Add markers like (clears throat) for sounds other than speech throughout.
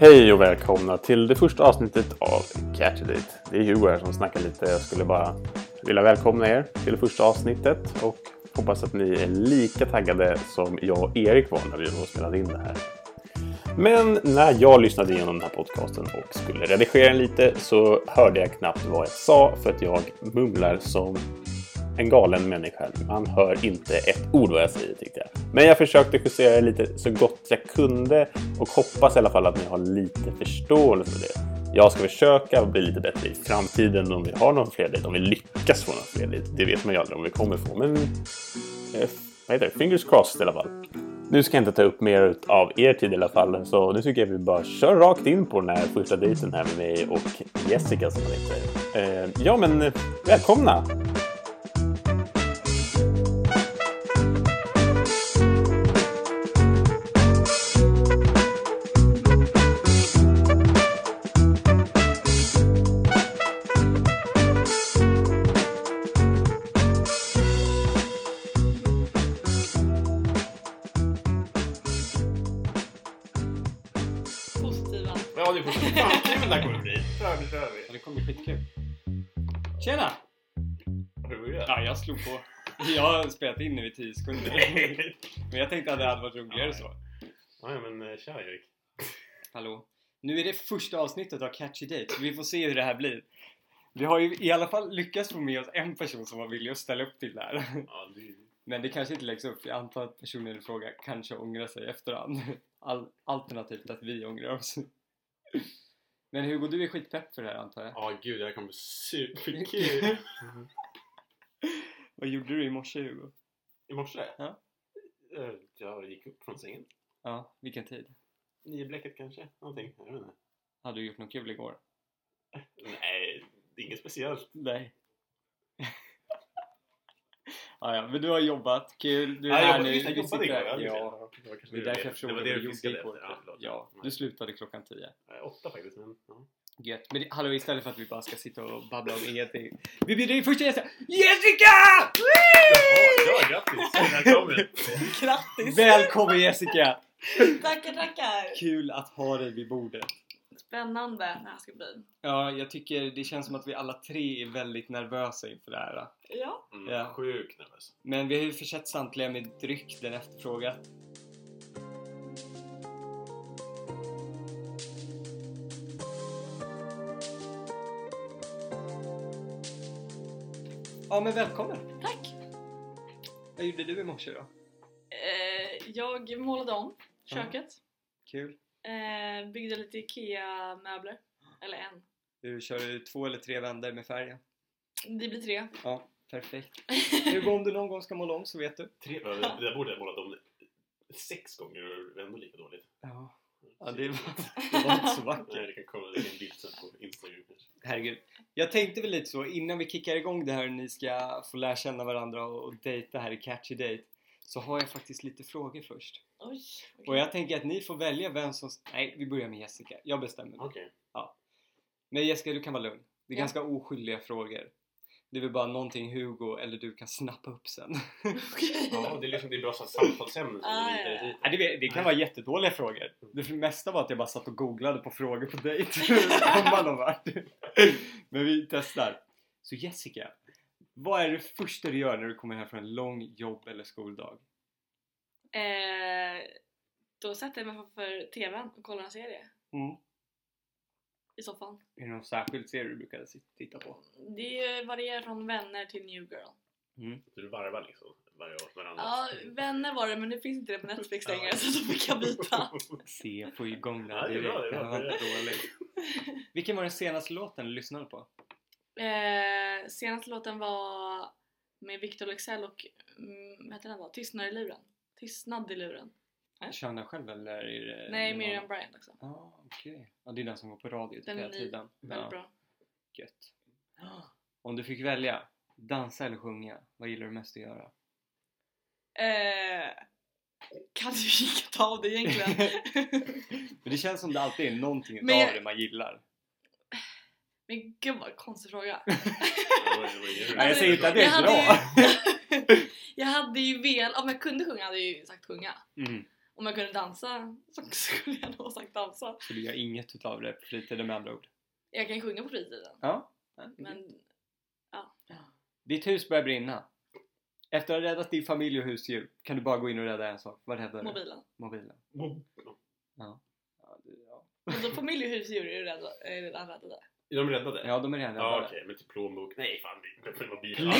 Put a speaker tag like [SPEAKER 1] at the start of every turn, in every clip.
[SPEAKER 1] Hej och välkomna till det första avsnittet av Catch It. Det är Hugo här som snackar lite. Jag skulle bara vilja välkomna er till det första avsnittet och hoppas att ni är lika taggade som jag och Erik var när vi var och spelade in det här. Men när jag lyssnade igenom den här podcasten och skulle redigera den lite så hörde jag knappt vad jag sa för att jag mumlar som en galen människa. Man hör inte ett ord vad jag säger tyckte jag. Men jag försökte justera det lite så gott jag kunde och hoppas i alla fall att ni har lite förståelse för det. Jag ska försöka bli lite bättre i framtiden om vi har någon fler dejt, om vi lyckas få någon fler dejt. Det vet man ju aldrig om vi kommer få, men eh, vad heter det? Fingers crossed i alla fall. Nu ska jag inte ta upp mer av er tid i alla fall, så nu tycker jag vi bara kör rakt in på den här första dejten här med mig och Jessica som hon heter. Eh, ja, men eh, välkomna!
[SPEAKER 2] positiva.
[SPEAKER 1] Ja, det är
[SPEAKER 3] (laughs)
[SPEAKER 1] positivt. Fan vad kul det här kommer bli. Ja, nu kör vi.
[SPEAKER 3] Ja, det kommer bli skitkul. Tjena!
[SPEAKER 1] Har du börjat? (laughs)
[SPEAKER 3] Ja, jag slog på. Jag har spelat in nu i 10 sekunder. Men jag tänkte att det hade varit roligare så.
[SPEAKER 1] Ja, men eh, kör Erik.
[SPEAKER 3] Hallå. Nu är det första avsnittet av Catchy Date. Vi får se hur det här blir. Vi har ju i alla fall lyckats få med oss en person som var villig att ställa upp till det här.
[SPEAKER 1] Ja, det...
[SPEAKER 3] Men det kanske inte läggs upp. Jag antar att personen i fråga kanske ångrar sig efterhand. Al- alternativt att vi ångrar oss. Men Hugo, du är skitpepp för det här antar jag?
[SPEAKER 1] ja gud, det här kommer bli superkul.
[SPEAKER 3] Vad gjorde du i morse Hugo?
[SPEAKER 1] I morse?
[SPEAKER 3] Ja.
[SPEAKER 1] Eh, Jag gick upp från sängen.
[SPEAKER 3] Ja, vilken tid?
[SPEAKER 1] Nio bläcket kanske? Någonting. Jag vet inte.
[SPEAKER 3] Hade du gjort något kul igår?
[SPEAKER 1] Nej, det är inget speciellt.
[SPEAKER 3] Nej. (laughs) Ah, ja, ja, men du har jobbat, kul, du är
[SPEAKER 1] Nej, jag
[SPEAKER 3] här
[SPEAKER 1] jobbade-
[SPEAKER 3] nu.
[SPEAKER 1] just det,
[SPEAKER 3] vi
[SPEAKER 1] jag jobbade igår. Ja,
[SPEAKER 3] sitter-
[SPEAKER 1] just
[SPEAKER 3] Ja,
[SPEAKER 1] det var kanske
[SPEAKER 3] det är därför jag frågade
[SPEAKER 1] Det var
[SPEAKER 3] vad
[SPEAKER 1] det
[SPEAKER 3] du
[SPEAKER 1] du
[SPEAKER 3] gjorde
[SPEAKER 1] fiskade
[SPEAKER 3] igår.
[SPEAKER 1] efter. Ja,
[SPEAKER 3] Ja,
[SPEAKER 1] förlåt.
[SPEAKER 3] du slutade klockan 10.
[SPEAKER 1] Nej, Åtta faktiskt, men... Ja.
[SPEAKER 3] Gött. Men det- hallå, istället för att vi bara ska sitta och babbla om ingenting. Vi bjuder in första gästen, Jessica!
[SPEAKER 1] Jaha, ja,
[SPEAKER 3] (laughs)
[SPEAKER 1] grattis! Välkommen!
[SPEAKER 2] Grattis!
[SPEAKER 3] Välkommen Jessica!
[SPEAKER 2] Tackar, tackar!
[SPEAKER 3] Kul att ha dig vid bordet.
[SPEAKER 2] Spännande det här ska bli.
[SPEAKER 3] Ja, jag tycker det känns som att vi alla tre är väldigt nervösa inför det här.
[SPEAKER 2] Ja.
[SPEAKER 1] Mm,
[SPEAKER 3] Ja.
[SPEAKER 1] Sjukt nervös.
[SPEAKER 3] Men vi har ju försett samtliga med dryck den efterfrågat. Ja men välkommen!
[SPEAKER 2] Tack!
[SPEAKER 3] Vad gjorde du i morse då?
[SPEAKER 2] Eh, jag målade om köket.
[SPEAKER 3] Kul.
[SPEAKER 2] Eh, byggde lite IKEA-möbler. Eller en.
[SPEAKER 3] Du körde två eller tre vändor med färgen.
[SPEAKER 2] Det blir tre.
[SPEAKER 3] Ja, perfekt. Hugo om du någon gång ska måla om så vet du.
[SPEAKER 1] Tre, det där borde jag målat om sex gånger och ändå lika dåligt. Typ.
[SPEAKER 3] Ja, ja det, var, (laughs) det var inte så vackert.
[SPEAKER 1] Nej, det kan kolla. Det är en bild sen på Instagram kanske.
[SPEAKER 3] Herregud. Jag tänkte väl lite så innan vi kickar igång det här och ni ska få lära känna varandra och, och dejta här i Catchy Date. Så har jag faktiskt lite frågor först.
[SPEAKER 2] Oj. okej.
[SPEAKER 3] Och jag tänker att ni får välja vem som... Nej, vi börjar med Jessica. Jag bestämmer.
[SPEAKER 1] Okej.
[SPEAKER 3] Men Jessica, du kan vara lugn. Det är
[SPEAKER 2] Ja.
[SPEAKER 3] ganska oskyldiga frågor. Det är väl bara någonting Hugo eller du kan snappa upp sen.
[SPEAKER 2] (laughs) Okej.
[SPEAKER 1] Ja, det är liksom det är bra så här samtalsämnen som
[SPEAKER 2] Ah,
[SPEAKER 1] vi
[SPEAKER 2] ja,
[SPEAKER 1] hittar
[SPEAKER 2] ja.
[SPEAKER 1] dit.
[SPEAKER 3] Nej, det, vet- det kan vara jättedåliga frågor. Det mesta var att jag bara satt och googlade på frågor på
[SPEAKER 1] (laughs)
[SPEAKER 3] dejt. Om man har varit. Men vi testar. Så Jessica, vad är det första du gör när du kommer hem från en lång jobb eller skoldag?
[SPEAKER 2] Eh, då sätter jag mig framför TVn och kollar en serie.
[SPEAKER 3] Mm.
[SPEAKER 2] I soffan.
[SPEAKER 3] Är det någon särskild serie du brukade sit- titta på?
[SPEAKER 2] Det varierar från vänner till new girl.
[SPEAKER 1] Så du varvar liksom varje år varandra.
[SPEAKER 2] Ja, vänner var det men nu finns inte det på Netflix längre så då fick jag byta.
[SPEAKER 3] Se, få igång den
[SPEAKER 1] Ja, det är bra, det är bra.
[SPEAKER 3] Den var inte dålig. Vilken var den senaste låten du lyssnade på?
[SPEAKER 2] Eh, senaste låten var med Victor Leksell och mm, vad heter den då? Tystnad i luren. Tystnad i luren.
[SPEAKER 3] Kör den själv eller? Är Eh, det
[SPEAKER 2] Äh? Nej,
[SPEAKER 3] någon-
[SPEAKER 2] Miriam Bryant också.
[SPEAKER 3] Ah, okej. Ja, det är den som går på radio typ,
[SPEAKER 2] Den
[SPEAKER 3] hela
[SPEAKER 2] är ny.
[SPEAKER 3] tiden.
[SPEAKER 2] Väldigt
[SPEAKER 3] Ja.
[SPEAKER 2] bra.
[SPEAKER 3] Gött. Om du fick välja, dansa eller sjunga, vad gillar du mest att göra?
[SPEAKER 2] Eh, kan du inte ta av det
[SPEAKER 3] (laughs)
[SPEAKER 2] egentligen?
[SPEAKER 3] Men det känns som det alltid är någonting
[SPEAKER 2] Men jag-
[SPEAKER 3] av det man gillar.
[SPEAKER 2] men gud vad konstig fråga.
[SPEAKER 3] Nej, jag säger inte att det
[SPEAKER 2] Jag
[SPEAKER 3] är
[SPEAKER 2] hade (laughs)
[SPEAKER 3] bra.
[SPEAKER 2] ju, jag hade ju velat, om jag kunde sjunga hade jag ju sagt sjunga.
[SPEAKER 3] Mm.
[SPEAKER 2] Om jag kunde dansa så (laughs) skulle jag nog ha sagt dansa.
[SPEAKER 3] Så du gör inget utav det på fritiden med andra ord?
[SPEAKER 2] Jag kan sjunga på fritiden.
[SPEAKER 3] Ja. Mm.
[SPEAKER 2] Men
[SPEAKER 3] Ditt hus börjar brinna. Efter att ha räddat din familj och husdjur kan du bara gå in och rädda en sak. Vad räddar du?
[SPEAKER 2] mobilen.
[SPEAKER 3] Mobilen. Ja, det, ja.
[SPEAKER 2] Men då familj och husdjur är ju rädda- är redan räddade.
[SPEAKER 1] Är de räddade?
[SPEAKER 3] ja, de är redan
[SPEAKER 1] Ja
[SPEAKER 3] räddade.
[SPEAKER 1] okej, men till plånbok. Nej fan, det är mobilen.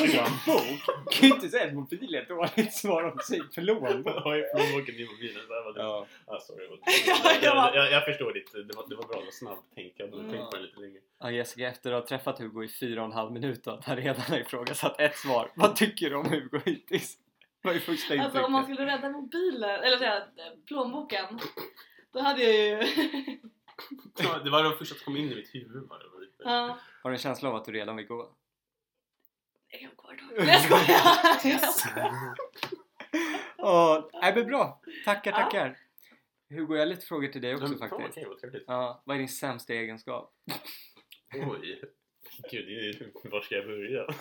[SPEAKER 3] Plånbok? Du kan ju inte säga att mobil är ett dåligt svar om sig. Plånbok.
[SPEAKER 1] Jag har ju plånboken i mobilen. Så här var det.
[SPEAKER 3] Ja.
[SPEAKER 1] Ah, sorry.
[SPEAKER 2] Ja, jag
[SPEAKER 1] jag,
[SPEAKER 2] bara-
[SPEAKER 1] jag, jag förstår ditt. Det var, det var bra, det var snabbtänk. Jag hade
[SPEAKER 2] Mm.
[SPEAKER 1] tänkt på det lite längre.
[SPEAKER 3] ja, Jessica, efter att ha träffat Hugo i fyra och en halv minut och att han redan har ifrågasatt ett svar. Vad tycker du om Hugo hittills? Vad är första intrycket?
[SPEAKER 2] Alltså om man skulle rädda mobilen, eller säga eh, plånboken. Då hade jag ju... (laughs)
[SPEAKER 1] Ja, Det var de första som kom in i mitt huvud. Var det var lite.
[SPEAKER 2] ja.
[SPEAKER 3] Har du en känsla av att du redan vill gå?
[SPEAKER 2] Jag kan gå kvar idag. Nej jag skojar!
[SPEAKER 3] Ja, nej men bra. Tackar,
[SPEAKER 2] Ja.
[SPEAKER 3] tackar. Hugo, jag har lite frågor till dig också
[SPEAKER 1] Men, fan,
[SPEAKER 3] faktiskt.
[SPEAKER 1] Okej, vad trevligt.
[SPEAKER 3] Ja, vad är din sämsta egenskap?
[SPEAKER 1] Oj. Gud, det är, var ska jag börja? (laughs)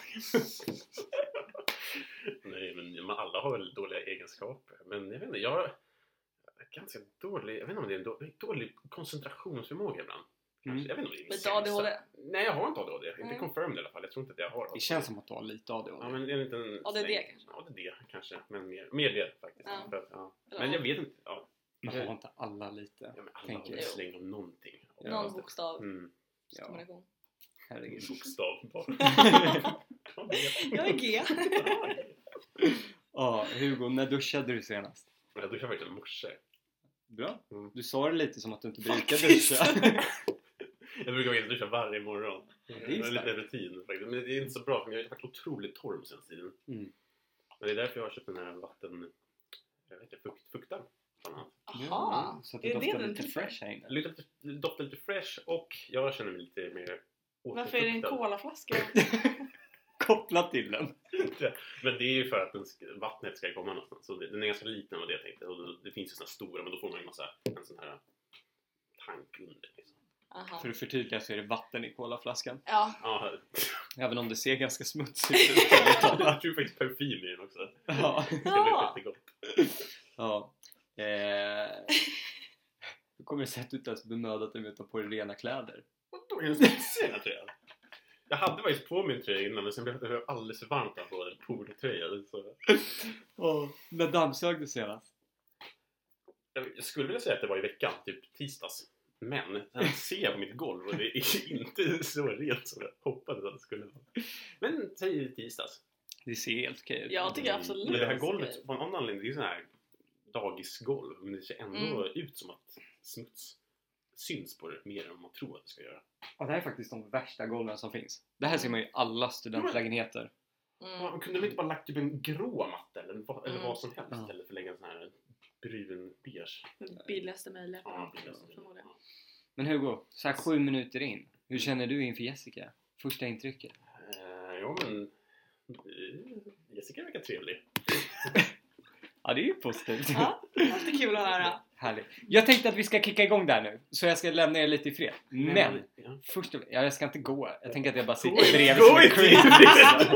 [SPEAKER 1] Nej, men man- alla har väl dåliga egenskaper. Men jag vet inte, jag är ganska dålig, jag vet inte om det är en dålig, dålig koncentrationsförmåga ibland. Kanske.
[SPEAKER 3] Mm.
[SPEAKER 1] Jag vet inte om det är min
[SPEAKER 2] Lite
[SPEAKER 1] sämsta.
[SPEAKER 2] ADHD.
[SPEAKER 1] Nej, jag har inte ADHD. Inte
[SPEAKER 2] Nej.
[SPEAKER 1] confirmed i alla fall. Jag tror inte att jag har ADHD.
[SPEAKER 3] Det känns som att du har lite ADHD.
[SPEAKER 1] Ja, men det är en liten...
[SPEAKER 2] ADD
[SPEAKER 1] släng.
[SPEAKER 2] kanske?
[SPEAKER 1] Ja, det är det kanske. Men mer, mer det faktiskt.
[SPEAKER 2] Ja.
[SPEAKER 1] För att, ja.
[SPEAKER 2] Eller
[SPEAKER 1] Men
[SPEAKER 2] ja.
[SPEAKER 1] jag vet inte. Ja.
[SPEAKER 3] Man har inte alla lite.
[SPEAKER 1] Ja, men alla
[SPEAKER 3] Tänker
[SPEAKER 1] har en
[SPEAKER 2] jag.
[SPEAKER 1] släng om någonting.
[SPEAKER 3] Ja.
[SPEAKER 2] Någon bokstav.
[SPEAKER 1] Mm.
[SPEAKER 3] Ja,
[SPEAKER 2] kombination.
[SPEAKER 3] herregud.
[SPEAKER 1] Bokstav bara. Ja, det-
[SPEAKER 2] Jag är G.
[SPEAKER 1] Ja,
[SPEAKER 3] Ja, Hugo, när duschade du senast?
[SPEAKER 1] Jag duschade faktiskt i morse.
[SPEAKER 3] Bra.
[SPEAKER 1] Mm.
[SPEAKER 3] Du sa det lite som att du inte brukar
[SPEAKER 2] Faktiskt.
[SPEAKER 3] duscha. (laughs)
[SPEAKER 1] Jag brukar faktiskt duscha varje morgon. Det
[SPEAKER 3] är ju
[SPEAKER 1] är lite
[SPEAKER 3] starkt.
[SPEAKER 1] rutin faktiskt. Men det är inte så bra för jag har varit otroligt torr på senaste tiden.
[SPEAKER 3] Mm.
[SPEAKER 1] Men det är därför jag har köpt den här vatten... Jag vet inte, fukt, fuktaren. bland annat.
[SPEAKER 2] Jaha,
[SPEAKER 3] så att
[SPEAKER 2] är
[SPEAKER 3] det
[SPEAKER 2] det
[SPEAKER 3] doftar
[SPEAKER 2] den
[SPEAKER 3] lite
[SPEAKER 2] tillför?
[SPEAKER 3] fresh här
[SPEAKER 1] Det
[SPEAKER 3] inne.
[SPEAKER 1] luktar lite- det Doftar lite fresh och jag känner mig lite mer
[SPEAKER 2] Varför är det en
[SPEAKER 1] återfuktad.
[SPEAKER 2] colaflaska?
[SPEAKER 3] Kopplat till den.
[SPEAKER 1] Men det är ju för att den ska, vattnet ska komma någonstans. Så det, den är ganska liten vad det jag tänkte. Och det, det finns ju såna stora men då får man ju massa, en sån här tank under. Liksom.
[SPEAKER 2] Aha.
[SPEAKER 3] För att förtydliga så är det vatten i colaflaskan.
[SPEAKER 2] Ja,
[SPEAKER 1] Ja,
[SPEAKER 3] Även om det ser ganska smutsigt ut. ärligt talat.
[SPEAKER 1] jag tror faktiskt parfym i den också.
[SPEAKER 3] (laughs) ja.
[SPEAKER 1] Det luktar
[SPEAKER 2] Ja.
[SPEAKER 1] jättegott.
[SPEAKER 3] ja. Eh. Hur kommer det sig att du inte ens bemödat dig med att ta på dig rena kläder?
[SPEAKER 1] Då är den smutsig den här tröjan. Jag hade faktiskt på mig en tröja innan men sen blev det alldeles för varmt att ha på en polotröja. Så
[SPEAKER 3] Oh. När dammsög du senast?
[SPEAKER 1] jag, jag skulle vilja säga att det var i veckan, typ tisdags. Men sen ser jag på mitt golv och det är inte så rent som jag hoppades att det skulle vara. Men säg tisdags. Mm.
[SPEAKER 3] Det ser helt okej ut.
[SPEAKER 2] jag tycker absolut
[SPEAKER 1] Men det här
[SPEAKER 2] att ska
[SPEAKER 1] golvet
[SPEAKER 2] göra.
[SPEAKER 1] på en annan anledning, det är ju sån här dagisgolv. Men det ser
[SPEAKER 2] Mm.
[SPEAKER 1] ändå ut som att smuts syns på det mer än vad man tror att det ska göra.
[SPEAKER 3] Ja, det här är faktiskt de värsta golven som finns. Det här ser man ju i alla studentlägenheter.
[SPEAKER 1] Ja,
[SPEAKER 2] Mm.
[SPEAKER 1] men kunde de inte bara lagt typ en grå matta eller, vad- eller
[SPEAKER 2] Mm.
[SPEAKER 1] vad som helst
[SPEAKER 3] Ja.
[SPEAKER 1] istället för att lägga en sån här brun beige?
[SPEAKER 2] det Billigaste möjliga.
[SPEAKER 1] Ja, precis.
[SPEAKER 2] Förmodligen.
[SPEAKER 1] Ja.
[SPEAKER 3] Men Hugo, så här sju minuter in. Hur känner du inför Jessica? Första intrycket?
[SPEAKER 1] Eh, Jo men... eh, Jessica verkar trevlig.
[SPEAKER 3] Ja, det är ju positivt.
[SPEAKER 2] Ja, alltid kul att höra.
[SPEAKER 3] (laughs) Härligt. Jag tänkte att vi ska kicka igång där nu, så jag ska lämna er lite i fred. Men!
[SPEAKER 1] Ja.
[SPEAKER 3] Först och, ja, jag ska inte gå. Jag tänker att jag bara
[SPEAKER 1] Gå
[SPEAKER 3] sitter
[SPEAKER 1] i-
[SPEAKER 3] bredvid som
[SPEAKER 1] gå
[SPEAKER 3] en
[SPEAKER 1] i liksom.
[SPEAKER 3] creep.
[SPEAKER 2] Jag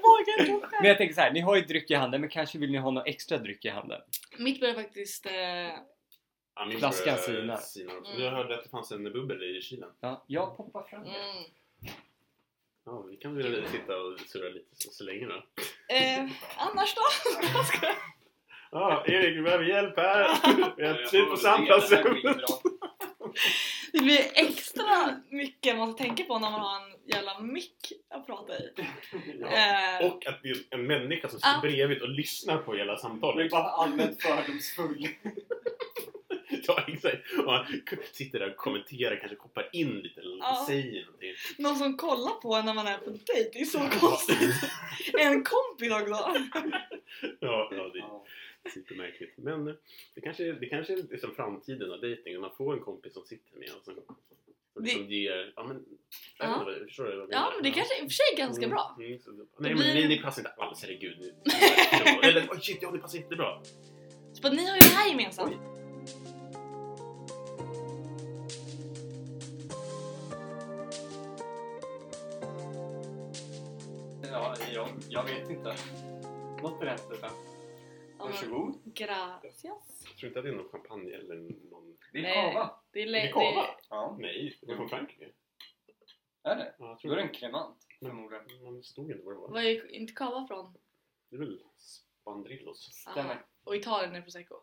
[SPEAKER 2] vågar inte
[SPEAKER 3] (laughs) Men jag tänker så här, ni har ju dryck i handen, men kanske vill ni ha någon extra dryck i handen?
[SPEAKER 2] Mitt börjar faktiskt... Eh,
[SPEAKER 1] Ja, min
[SPEAKER 3] Flaskan
[SPEAKER 1] bror, eh,
[SPEAKER 3] sinar.
[SPEAKER 1] sinar också.
[SPEAKER 2] Mm.
[SPEAKER 1] Jag hörde att det fanns en bubbel i kylen.
[SPEAKER 3] Ja, jag poppar fram det.
[SPEAKER 2] mm.
[SPEAKER 1] Ja, vi kan väl sitta och surra lite så, så länge då.
[SPEAKER 2] eh, annars då? Jag skojar.
[SPEAKER 1] Ja, Erik, vi behöver hjälp
[SPEAKER 2] (laughs)
[SPEAKER 1] här! Vi har
[SPEAKER 4] Jag
[SPEAKER 1] slut på samtalsämnen!
[SPEAKER 2] det blir extra mycket man ska tänka på när man har en jävla mick att prata i.
[SPEAKER 1] Ja.
[SPEAKER 2] Eh,
[SPEAKER 1] Och att det är en människa som sitter
[SPEAKER 2] Ah.
[SPEAKER 1] bredvid och lyssnar på hela samtalet.
[SPEAKER 3] bara allmänt fördomsfull.
[SPEAKER 1] (laughs) Ja, exakt. Och han sitter där och kommenterar, kanske koppar in lite eller
[SPEAKER 2] Ja.
[SPEAKER 1] säger någonting.
[SPEAKER 2] någon som kollar på en när man är på dejt, det är så konstigt. en kompis också.
[SPEAKER 1] Ja, ja det är supermärkligt. Men eh, det kanske, är- det kanske är liksom framtiden av dejting. Man får en kompis som sitter med och som, som
[SPEAKER 2] Det-
[SPEAKER 1] liksom ger... Ja, men, jag
[SPEAKER 2] Ja.
[SPEAKER 1] vet inte vad- förstår du vad jag menar?
[SPEAKER 2] Ja men det kanske i och för sig är ganska
[SPEAKER 1] Mm,
[SPEAKER 2] bra.
[SPEAKER 1] mm, så- nej,
[SPEAKER 2] blir-
[SPEAKER 1] men ni, ni passar inte alls, herregud. Ni,
[SPEAKER 2] (laughs)
[SPEAKER 1] ni- eller oj shit, ja, ni passar inte bra.
[SPEAKER 2] Så att ni har ju det här gemensamt.
[SPEAKER 3] Ja, jag, jag vet inte. Något berättelse.
[SPEAKER 2] Ja, men-
[SPEAKER 3] Varsågod.
[SPEAKER 2] Gracias.
[SPEAKER 1] Jag tror inte att det är någon champagne eller någon...
[SPEAKER 3] Det är
[SPEAKER 2] Nej.
[SPEAKER 3] cava.
[SPEAKER 2] Det är,
[SPEAKER 1] Är
[SPEAKER 2] le-
[SPEAKER 1] det kava?
[SPEAKER 3] Ja,
[SPEAKER 1] Nej, det är från Frankrike.
[SPEAKER 3] är det?
[SPEAKER 1] Ja, jag tror
[SPEAKER 3] Då är det en kremant
[SPEAKER 1] Men-
[SPEAKER 3] förmodligen.
[SPEAKER 1] Man förstod inte vad det var.
[SPEAKER 2] Var är inte kava från?
[SPEAKER 1] Det är väl Spandrillos
[SPEAKER 2] Ah, och Italien är prosecco.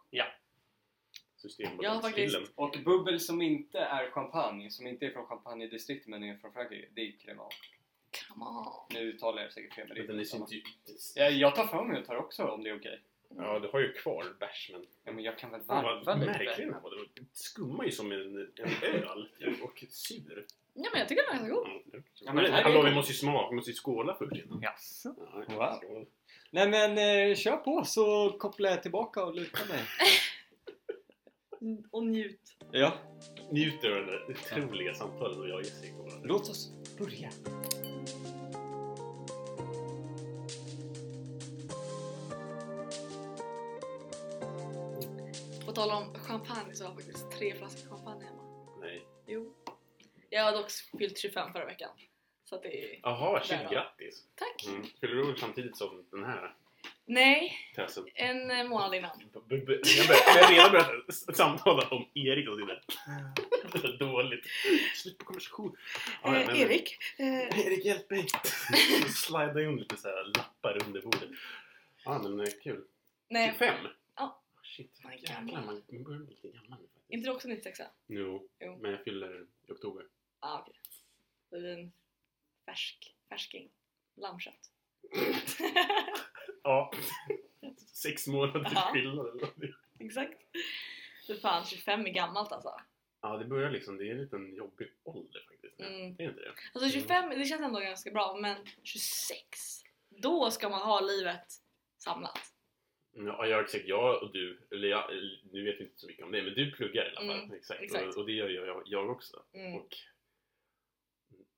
[SPEAKER 1] system.
[SPEAKER 2] Jag har faktiskt-
[SPEAKER 3] Och bubbel som inte är champagne, som inte är från champagnedistriktet men är från Frankrike, det är kremant.
[SPEAKER 2] Come on.
[SPEAKER 3] Nu uttalar jag säkert fel men det
[SPEAKER 1] Men
[SPEAKER 3] är
[SPEAKER 1] den är
[SPEAKER 3] samma.
[SPEAKER 1] inte...
[SPEAKER 3] jag, Eh, jag tar för mig och tar också om det är okej.
[SPEAKER 1] Ja, du har ju kvar bärs men...
[SPEAKER 3] Ja, men jag kan väl
[SPEAKER 1] Fan,
[SPEAKER 3] varva
[SPEAKER 1] vad
[SPEAKER 3] lite?
[SPEAKER 1] märklig den här var. Det skummar ju som en, en öl (laughs) typ, och sur.
[SPEAKER 2] Ja men jag tycker den är ganska god.
[SPEAKER 1] Ja, det-
[SPEAKER 3] Ja, men
[SPEAKER 1] men,
[SPEAKER 3] här är
[SPEAKER 1] hallå,
[SPEAKER 3] det-
[SPEAKER 1] vi måste ju smaka, vi måste ju skåla först innan.
[SPEAKER 3] Jaså?
[SPEAKER 1] Ja,
[SPEAKER 3] Wow.
[SPEAKER 1] skål.
[SPEAKER 3] Nej men eh, kör på så kopplar jag tillbaka och lutar mig.
[SPEAKER 2] Och njut.
[SPEAKER 3] ja,
[SPEAKER 1] Njuter av det otroliga samtalet som jag och Jessica har.
[SPEAKER 3] låt oss börja.
[SPEAKER 2] På tal om champagne så har jag faktiskt tre flaskor champagne hemma.
[SPEAKER 1] Nej.
[SPEAKER 2] Jo. Jag har dock fyllt 25 förra veckan. Så att det är...
[SPEAKER 1] Jaha,
[SPEAKER 2] Där
[SPEAKER 1] shit
[SPEAKER 2] då.
[SPEAKER 1] grattis!
[SPEAKER 2] Tack!
[SPEAKER 1] Mm. Fyller du år samtidigt som den här
[SPEAKER 2] Nej,
[SPEAKER 1] tösen?
[SPEAKER 2] en eh, månad innan.
[SPEAKER 1] B- b- b- Jag börjar- jag har redan börjat s- samtala om Erik och sina... (laughs) Dåligt. Slut på konversation. Ja, ja,
[SPEAKER 2] Eh,
[SPEAKER 1] men-
[SPEAKER 2] Erik? Eh,
[SPEAKER 1] Erik, hjälp mig! (laughs) Slida in lite så här lappar under bordet. Ja, ah, men eh, kul.
[SPEAKER 2] nej.
[SPEAKER 1] 25?
[SPEAKER 2] Ja.
[SPEAKER 1] Shit,
[SPEAKER 2] Man är
[SPEAKER 1] jävlar.
[SPEAKER 2] gammal.
[SPEAKER 1] Man, man börjar bli lite gammal nu faktiskt.
[SPEAKER 2] Inte du också 96 Ja
[SPEAKER 1] Jo,
[SPEAKER 2] Jo.
[SPEAKER 1] men jag fyller i oktober.
[SPEAKER 2] ah, okej. Då är du en färsk, färsking. Lammkött. (laughs)
[SPEAKER 1] Ja. (laughs) Sex månader
[SPEAKER 2] Ja.
[SPEAKER 1] skillnad eller någonting.
[SPEAKER 2] Exakt. För fan 25 är gammalt alltså.
[SPEAKER 1] Ja, det börjar liksom. Det är en liten jobbig ålder faktiskt.
[SPEAKER 2] Mm.
[SPEAKER 1] Det är inte det?
[SPEAKER 2] Alltså 25, det känns ändå ganska bra men 26. Då ska man ha livet samlat.
[SPEAKER 1] Mm. Ja, jag, exakt. Jag och du, eller jag, nu vet jag inte så mycket om det, men du pluggar i alla fall.
[SPEAKER 2] Mm,
[SPEAKER 1] exakt.
[SPEAKER 2] exakt.
[SPEAKER 1] Och, och det gör jag, jag, jag också.
[SPEAKER 2] Mm.
[SPEAKER 1] Och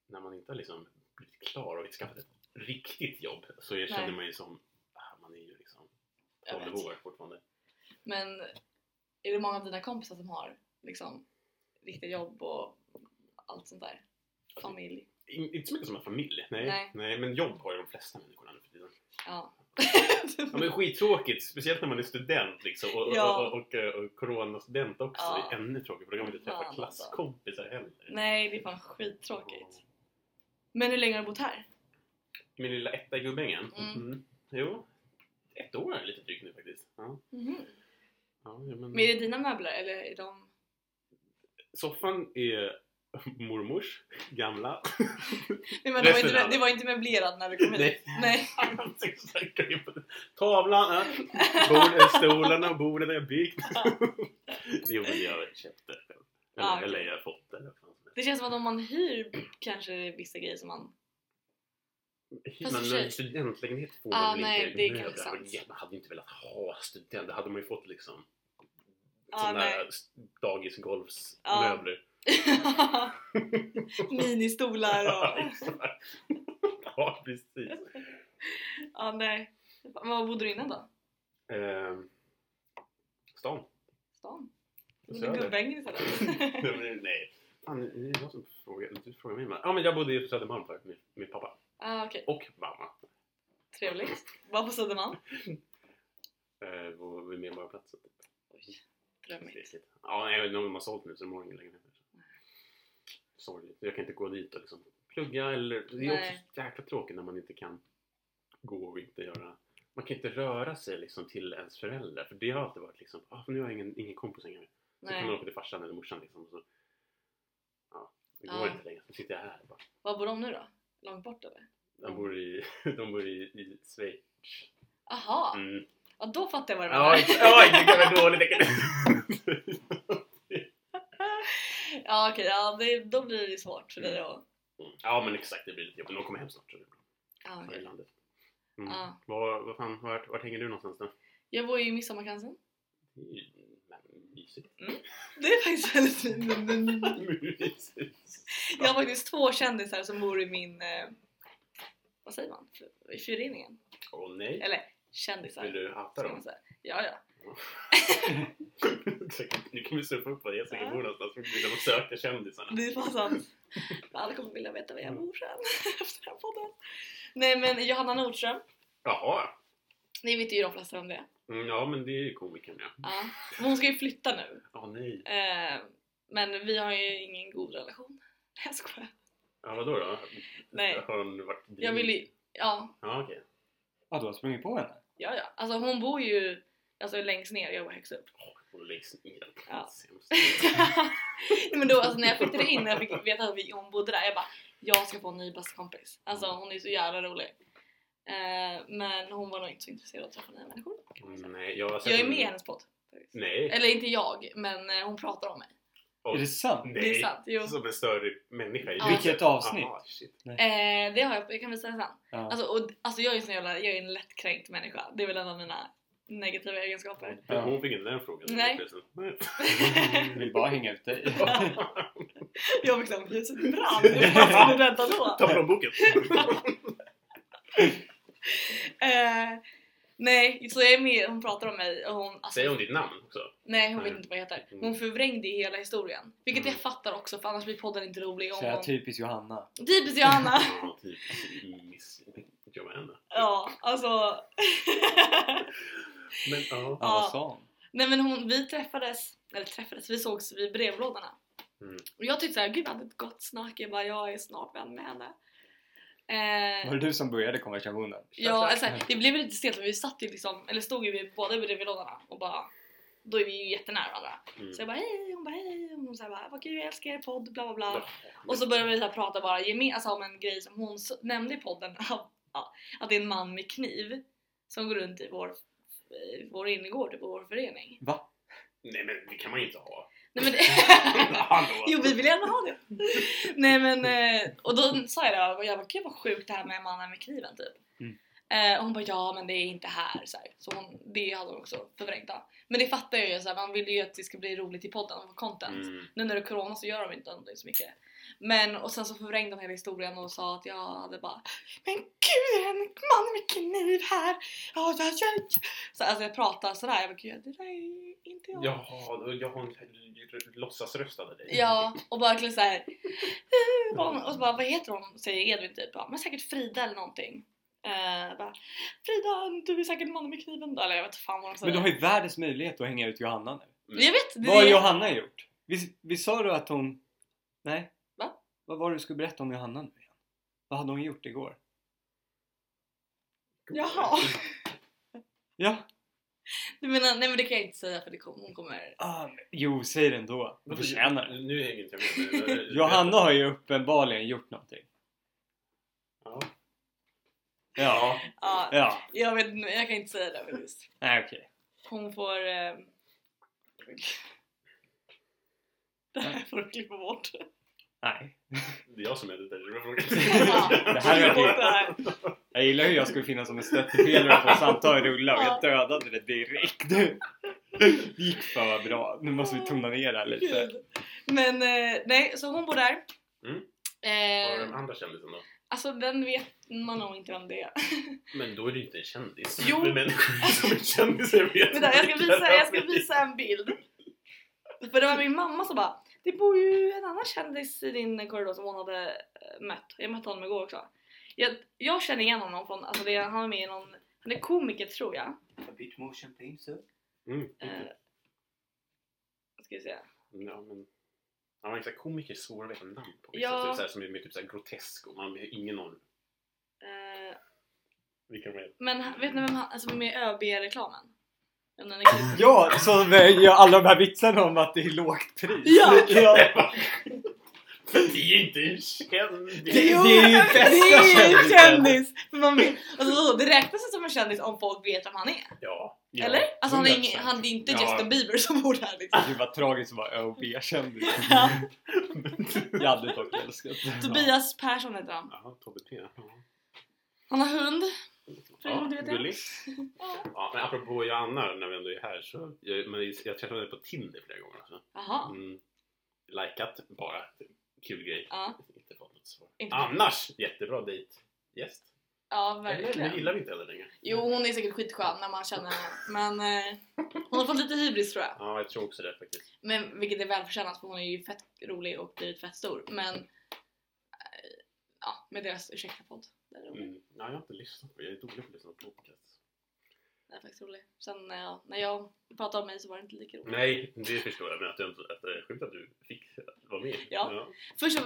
[SPEAKER 1] när man inte har liksom blivit klar och skaffat ett riktigt jobb så jag känner
[SPEAKER 2] Nej.
[SPEAKER 1] man ju som, ah, man är ju liksom
[SPEAKER 2] Jag
[SPEAKER 1] 12
[SPEAKER 2] vet.
[SPEAKER 1] år fortfarande.
[SPEAKER 2] Men är det många av dina kompisar som har liksom riktiga jobb och allt sånt där? Familj?
[SPEAKER 1] In, inte så mycket som en familj, nej.
[SPEAKER 2] Nej.
[SPEAKER 1] nej. men jobb har ju de flesta människorna nu för tiden.
[SPEAKER 2] Ja.
[SPEAKER 1] (laughs) Ja, men skittråkigt, speciellt när man är student liksom och, och-
[SPEAKER 2] Ja.
[SPEAKER 1] och, och, och, och coronastudent också.
[SPEAKER 2] Ja.
[SPEAKER 1] Det är ännu tråkigt för då kan man inte träffa
[SPEAKER 2] Fan, alltså.
[SPEAKER 1] klasskompisar heller.
[SPEAKER 2] Nej, det är fan skittråkigt. Men hur länge har du bott här?
[SPEAKER 1] min lilla etta i Gubbängen.
[SPEAKER 2] Mm.
[SPEAKER 1] Mm. Jo, ett år är lite drygt nu faktiskt. Ja.
[SPEAKER 2] Mhm.
[SPEAKER 1] Ja, ja, men...
[SPEAKER 2] Men är det dina möbler eller är de...
[SPEAKER 1] Soffan är (laughs) mormors gamla. (laughs)
[SPEAKER 2] Nej, men det, var
[SPEAKER 1] Resten
[SPEAKER 2] inte,
[SPEAKER 1] är-
[SPEAKER 2] det var inte möblerat när du kom hit?
[SPEAKER 1] Nej.
[SPEAKER 2] Nej.
[SPEAKER 1] Tavlan, ja. Bord, stolarna och bordet har jag byggt.
[SPEAKER 2] (laughs)
[SPEAKER 1] jo, men jag köpte det själv. Eller,
[SPEAKER 2] Ja, Ah, okej.
[SPEAKER 1] eller jag har fått det. vad fan som helst.
[SPEAKER 2] (laughs) Det känns som att om man hyr kanske det är vissa grejer
[SPEAKER 1] (laughs)
[SPEAKER 2] som man... Fast i och för
[SPEAKER 1] Men
[SPEAKER 2] sig-
[SPEAKER 1] en studentlägenhet får
[SPEAKER 2] Ah,
[SPEAKER 1] man väl
[SPEAKER 2] nej,
[SPEAKER 1] inte
[SPEAKER 2] det är
[SPEAKER 1] möbler.
[SPEAKER 2] kanske sant.
[SPEAKER 1] Ja, Man hade ju inte velat ha student. Då hade man ju fått liksom
[SPEAKER 2] Ah,
[SPEAKER 1] sådana
[SPEAKER 2] nej.
[SPEAKER 1] där dagisgolvsmöbler.
[SPEAKER 2] Ja. Ministolar
[SPEAKER 1] Ja,
[SPEAKER 2] och...
[SPEAKER 1] (laughs) exakt. ja, precis.
[SPEAKER 2] Ja, nej. Var bodde du innan då?
[SPEAKER 1] Ehm, stan.
[SPEAKER 2] Stan?
[SPEAKER 1] På
[SPEAKER 2] Bodde i
[SPEAKER 1] Söder.
[SPEAKER 2] Gubbängen
[SPEAKER 1] (laughs)
[SPEAKER 2] istället?
[SPEAKER 1] Nej, men nej. Fan, det är jag som frågar. Du frågar mig. men- Ja, men jag bodde ju på Södermalm förut med min pappa.
[SPEAKER 2] ah, okej.
[SPEAKER 1] Och mamma.
[SPEAKER 2] Trevligt. Var på Södermalm?
[SPEAKER 1] Eh, och vid Medborgarplatsen. typ.
[SPEAKER 2] Oj, drömmigt.
[SPEAKER 1] Riktigt. Ja, nej, men de har sålt nu så de har ingen lägenhet. Sorgligt. Jag kan inte gå dit och liksom plugga eller... Det är
[SPEAKER 2] Nej.
[SPEAKER 1] också jäkla tråkigt när man inte kan gå och inte göra... Man kan inte röra sig liksom till ens föräldrar. För det har alltid varit liksom... Ah, nu har jag ingen, ingen kompis längre. Så kan man
[SPEAKER 2] Nej.
[SPEAKER 1] åka till farsan eller morsan liksom. och Så, ja, det går
[SPEAKER 2] Ja.
[SPEAKER 1] inte längre. Nu sitter jag här bara.
[SPEAKER 2] Var bor de nu då? Långt bort eller?
[SPEAKER 1] De bor i, (laughs) de bor i, i Schweiz.
[SPEAKER 2] Aha!
[SPEAKER 1] Mm.
[SPEAKER 2] Ja, då fattar jag vad du
[SPEAKER 1] Ja,
[SPEAKER 2] menar.
[SPEAKER 1] ex- oj, det kan vara dåligt. det kan-
[SPEAKER 2] Ja, okej. Ja, det, då blir det ju svårt för dig att...
[SPEAKER 1] Mm. (laughs) Ja, men exakt. Det blir lite jobbigt. De kommer hem snart. Så det blir bra.
[SPEAKER 2] Ja,
[SPEAKER 1] Här i
[SPEAKER 2] okej.
[SPEAKER 1] landet. Mm.
[SPEAKER 2] Ja.
[SPEAKER 1] Var, vad fan, vart, vart hänger du någonstans då?
[SPEAKER 2] Jag bor ju i Midsommarkransen.
[SPEAKER 1] Det är ju- men, Mysigt. (laughs)
[SPEAKER 2] Det är faktiskt väldigt fint.
[SPEAKER 1] Mysigt.
[SPEAKER 2] Jag har faktiskt två kändisar som bor i min... Eh, vad säger man? I föreningen?
[SPEAKER 1] Åh nej.
[SPEAKER 2] Eller
[SPEAKER 1] Vill
[SPEAKER 2] kändisar.
[SPEAKER 1] du outa
[SPEAKER 2] ska man
[SPEAKER 1] dem?
[SPEAKER 2] säga. Ja, ja.
[SPEAKER 1] (laughs) Exakt. Nu kan vi surfa upp var Jessica
[SPEAKER 2] Ja.
[SPEAKER 1] bor någonstans. för Vi vill söka kändisarna.
[SPEAKER 2] Det är fan sant. Alla kommer vilja veta (laughs) var jag bor sen efter den här podden. Nej men Johanna Nordström
[SPEAKER 1] Jaha.
[SPEAKER 2] Det vet ju de flesta om det.
[SPEAKER 1] Mm, ja, men det är ju komikern ja.
[SPEAKER 2] Ja. Men Hon ska ju flytta nu.
[SPEAKER 1] Ja, nej.
[SPEAKER 2] Eh, men vi har ju ingen god relation. (laughs) Nej jag skojar.
[SPEAKER 1] Ja, vadå då?
[SPEAKER 2] Nej.
[SPEAKER 1] Har hon varit din?
[SPEAKER 2] Jag vill ju... Ja,
[SPEAKER 1] Ja, okej.
[SPEAKER 3] Ja, du har sprungit på henne?
[SPEAKER 2] ja, ja. Alltså hon bor ju alltså, längst ner och jag bor högst upp.
[SPEAKER 1] Hon läggs ner.
[SPEAKER 2] Ja.
[SPEAKER 1] Sämst.
[SPEAKER 2] Nej, men då, alltså, när jag flyttade in och jag fick veta att vi- hon bodde där, jag bara Jag ska få en ny bästa kompis. Alltså hon är så jävla rolig. Eh, men hon var nog inte så intresserad av att träffa nya människor. kan man säga.
[SPEAKER 1] liksom. Nej, jag har sett
[SPEAKER 2] Jag är
[SPEAKER 1] henne-
[SPEAKER 2] med i hennes podd. faktiskt.
[SPEAKER 1] Nej.
[SPEAKER 2] Eller inte jag, men eh, hon pratar om mig.
[SPEAKER 1] Oj.
[SPEAKER 3] Är det sant?
[SPEAKER 1] Nej.
[SPEAKER 2] Det är sant. Jo.
[SPEAKER 1] Som en större människa. i
[SPEAKER 2] Ja.
[SPEAKER 1] livet.
[SPEAKER 3] Vilket avsnitt?
[SPEAKER 1] Aha, shit.
[SPEAKER 2] Eh, det har jag, jag kan visa det sen.
[SPEAKER 3] Ja. (laughs)
[SPEAKER 2] Alltså, och, alltså jag är en sån jävla, jag är en lättkränkt människa. Det är väl en av mina negativa egenskaper.
[SPEAKER 1] (laughs)
[SPEAKER 3] Ja.
[SPEAKER 1] Hon fick inte den frågan.
[SPEAKER 2] Nej.
[SPEAKER 1] Nej.
[SPEAKER 3] Jag vill bara hänga
[SPEAKER 2] (laughs)
[SPEAKER 3] ut dig.
[SPEAKER 2] Jag fick liksom huset
[SPEAKER 1] (laughs)
[SPEAKER 2] brann. Vad ska du rädda då?
[SPEAKER 1] Ta från
[SPEAKER 2] (laughs)
[SPEAKER 1] boken.
[SPEAKER 2] Eh, nej, så jag är med, hon pratar om mig och hon... Alltså,
[SPEAKER 1] Säger hon ditt namn också?
[SPEAKER 2] Nej hon vet
[SPEAKER 1] Nej.
[SPEAKER 2] inte vad jag heter.
[SPEAKER 1] Mm.
[SPEAKER 2] Hon förvrängde ju hela historien. Vilket
[SPEAKER 1] Mm.
[SPEAKER 2] jag fattar också för annars blir podden inte rolig.
[SPEAKER 3] Så typ-
[SPEAKER 2] Om
[SPEAKER 3] här,
[SPEAKER 2] hon...
[SPEAKER 3] typiskt Johanna.
[SPEAKER 2] Typiskt Johanna!
[SPEAKER 1] Ja, typ. Miss... Jag med henne.
[SPEAKER 2] (laughs) ja alltså. (laughs)
[SPEAKER 1] Men ja.
[SPEAKER 3] Ja,
[SPEAKER 2] Ja.
[SPEAKER 3] vad sa hon?
[SPEAKER 2] nej men hon, vi träffades, eller träffades, vi sågs vid brevlådorna.
[SPEAKER 1] Mm.
[SPEAKER 2] Och jag tyckte såhär, gud vi hade ett gott snack. Jag bara, jag är snart vän med henne.
[SPEAKER 3] Var det
[SPEAKER 2] Eh,
[SPEAKER 3] du som började konversationen?
[SPEAKER 2] ja, alltså, här, det blev ju lite stelt för vi satt ju liksom, eller stod ju vid båda brevlådorna och bara då är vi ju jättenära varandra.
[SPEAKER 1] Mm.
[SPEAKER 2] Så jag bara hej, hon bara hej, och hon så här bara vad kul jag älskar er podd, bla bla bla.
[SPEAKER 1] Ja.
[SPEAKER 2] Och så började vi så här prata bara gemen- alltså om en grej som hon s- nämnde i podden. (laughs) ja, att det är en man med kniv som går runt i vår, eh, vår innergård, på vår förening.
[SPEAKER 3] Va?
[SPEAKER 1] Nej men det kan man ju inte
[SPEAKER 2] (laughs)
[SPEAKER 1] ha.
[SPEAKER 2] Nej, men det,
[SPEAKER 1] (laughs) Hallå.
[SPEAKER 2] jo vi vill gärna ha det! Nej men, eh, och då sa jag det och jag bara gud vad sjukt det här med mannen med kniven typ.
[SPEAKER 3] Mm.
[SPEAKER 2] Eh, och hon bara ja men det är inte här så, här. så hon, det hade hon också förvrängt då. Men det fattar jag ju så här, man vill ju att det ska bli roligt i podden och få content.
[SPEAKER 1] Mm.
[SPEAKER 2] Nu när det är corona så gör de inte någonting så mycket. Men och sen så förvrängde de hela historien och sa att jag hade bara Men gud är det en man med kniv här? Ja, ja, ja. Så alltså jag pratade sådär, jag bara gud det där är inte jag.
[SPEAKER 1] Jaha, då- jag har en låtsasröstade dig.
[SPEAKER 2] Ja, och bara verkligen såhär (laughs) Och så bara vad heter hon? Säger Edvin typ ja, men säkert Frida eller någonting. Eh, bara, Frida du är säkert mannen med kniven då. Eller jag vet inte fan vad de säger.
[SPEAKER 3] Men du har ju världens möjlighet att hänga ut Johanna nu.
[SPEAKER 2] Jag vet! Det
[SPEAKER 3] Vad har
[SPEAKER 2] är-
[SPEAKER 3] Johanna gjort? Vi, vi sa du att hon... Nej?
[SPEAKER 2] Va?
[SPEAKER 3] Vad var det du skulle berätta om Johanna nu igen? Vad hade hon gjort igår?
[SPEAKER 2] Jaha!
[SPEAKER 3] Ja?
[SPEAKER 2] Du menar, nej men det kan jag inte säga för det kom, hon kommer
[SPEAKER 3] Ah, jo, säg det ändå. Hon förtjänar det.
[SPEAKER 1] Nu hänger inte jag med. Nu-
[SPEAKER 3] Johanna har ju uppenbarligen gjort någonting.
[SPEAKER 1] Ja.
[SPEAKER 3] Ja.
[SPEAKER 2] ja,
[SPEAKER 3] Ja.
[SPEAKER 2] Jag vet inte, jag kan inte säga det faktiskt.
[SPEAKER 3] Nej, okej.
[SPEAKER 2] Hon får... Eh... (laughs) Det här får du klippa bort.
[SPEAKER 3] (laughs) Nej.
[SPEAKER 1] Det är jag som editerar. det var (laughs)
[SPEAKER 2] Ja,
[SPEAKER 1] frågan.
[SPEAKER 3] Det här
[SPEAKER 2] klippa
[SPEAKER 3] är
[SPEAKER 2] bort det här.
[SPEAKER 3] Jag gillar hur jag skulle finnas som en stöttepelare och få samtalet rulla och
[SPEAKER 2] Ja.
[SPEAKER 3] jag dödade det direkt. Det gick fan vad bra. Nu måste vi tona ner det här lite.
[SPEAKER 2] Gud. Men eh, nej, så hon bor där.
[SPEAKER 1] Mm. Har den
[SPEAKER 2] Eh,
[SPEAKER 1] andra kändisen då?
[SPEAKER 2] alltså den vet man nog inte vem (laughs) det är.
[SPEAKER 1] Men då är det ju inte en kändis.
[SPEAKER 2] Jo.
[SPEAKER 1] Men människor (laughs) som är kändisar vet
[SPEAKER 2] Vänta, jag ska
[SPEAKER 1] vilka
[SPEAKER 2] visa, jag
[SPEAKER 1] de
[SPEAKER 2] ska
[SPEAKER 1] är.
[SPEAKER 2] visa en bild. För det var min mamma som bara Det bor ju en annan kändis i din korridor som hon hade eh, mött. Jag mötte honom igår också. Jag, jag känner igen honom från, alltså det, han är med i någon, han är komiker tror jag.
[SPEAKER 3] A bit more champagne, sir.
[SPEAKER 1] Mm.
[SPEAKER 2] Eh, ska vi se.
[SPEAKER 1] Ja, men... Ja, men exakt. Komiker är svåra att veta namn på.
[SPEAKER 2] Ja.
[SPEAKER 1] Ja. Typ, så här, som är mer typ, så här, grotesk och man har ingen aning
[SPEAKER 2] Eh,
[SPEAKER 1] vilka de är.
[SPEAKER 2] men han- vet ni vem han, alltså vem är med i ÖB-reklamen? Om den är kul.
[SPEAKER 3] Ja, som eh, gör alla de här vitsarna om att det är lågt pris.
[SPEAKER 2] Ja.
[SPEAKER 1] (laughs) Men det är ju inte en kändis!
[SPEAKER 3] Det är ju bästa
[SPEAKER 2] Det är ju en
[SPEAKER 3] kändisen.
[SPEAKER 2] kändis! För man vet, alltså, det räknas ju som en kändis om folk vet vem han är.
[SPEAKER 1] Ja.
[SPEAKER 3] Ja,
[SPEAKER 2] Eller? Alltså han är,
[SPEAKER 3] 100%.
[SPEAKER 2] ingen, han, det är inte
[SPEAKER 1] Ja.
[SPEAKER 2] Justin Bieber som bor där
[SPEAKER 1] (laughs)
[SPEAKER 2] liksom.
[SPEAKER 3] Gud vad tragiskt att vara ÖoB-kändis. Jag hade dock älskat det.
[SPEAKER 2] Tobias Persson heter han.
[SPEAKER 1] Jaha, Tobbe T. Ja.
[SPEAKER 2] Han har hund. Tror
[SPEAKER 1] Ja,
[SPEAKER 2] du vet det?
[SPEAKER 1] gullig. Ja, men apropå Joanna, när vi ändå är här så... Jag, men jag träffade henne på Tinder flera gånger. Alltså.
[SPEAKER 2] Jaha.
[SPEAKER 1] Mm. Likat bara. Kul grej.
[SPEAKER 2] Ja,
[SPEAKER 1] Inte fått något svar.
[SPEAKER 2] Inte.
[SPEAKER 1] Annars, jättebra dejt. Gäst.
[SPEAKER 2] ja
[SPEAKER 1] Eller, nu
[SPEAKER 2] verkligen.
[SPEAKER 1] gillar vi inte henne längre.
[SPEAKER 2] Jo hon är säkert skitskön när man känner henne. Men eh, hon har fått lite hybris tror jag.
[SPEAKER 1] Ja, jag tror också det faktiskt.
[SPEAKER 2] Men, vilket är välförtjänat för hon är ju fett rolig och blivit fett stor. Men eh, ja, med deras ursäkta podd. Där är hon.
[SPEAKER 1] Mm. Nej, jag har inte lyssnat på Jag är dålig på att lyssna på podcast.
[SPEAKER 2] Den är faktiskt rolig. Sen när jag, när jag pratade om mig så var det inte lika roligt.
[SPEAKER 1] Nej, det förstår jag. Men att, jag, att det är sjukt att du fick vara med.
[SPEAKER 2] Ja. Först så-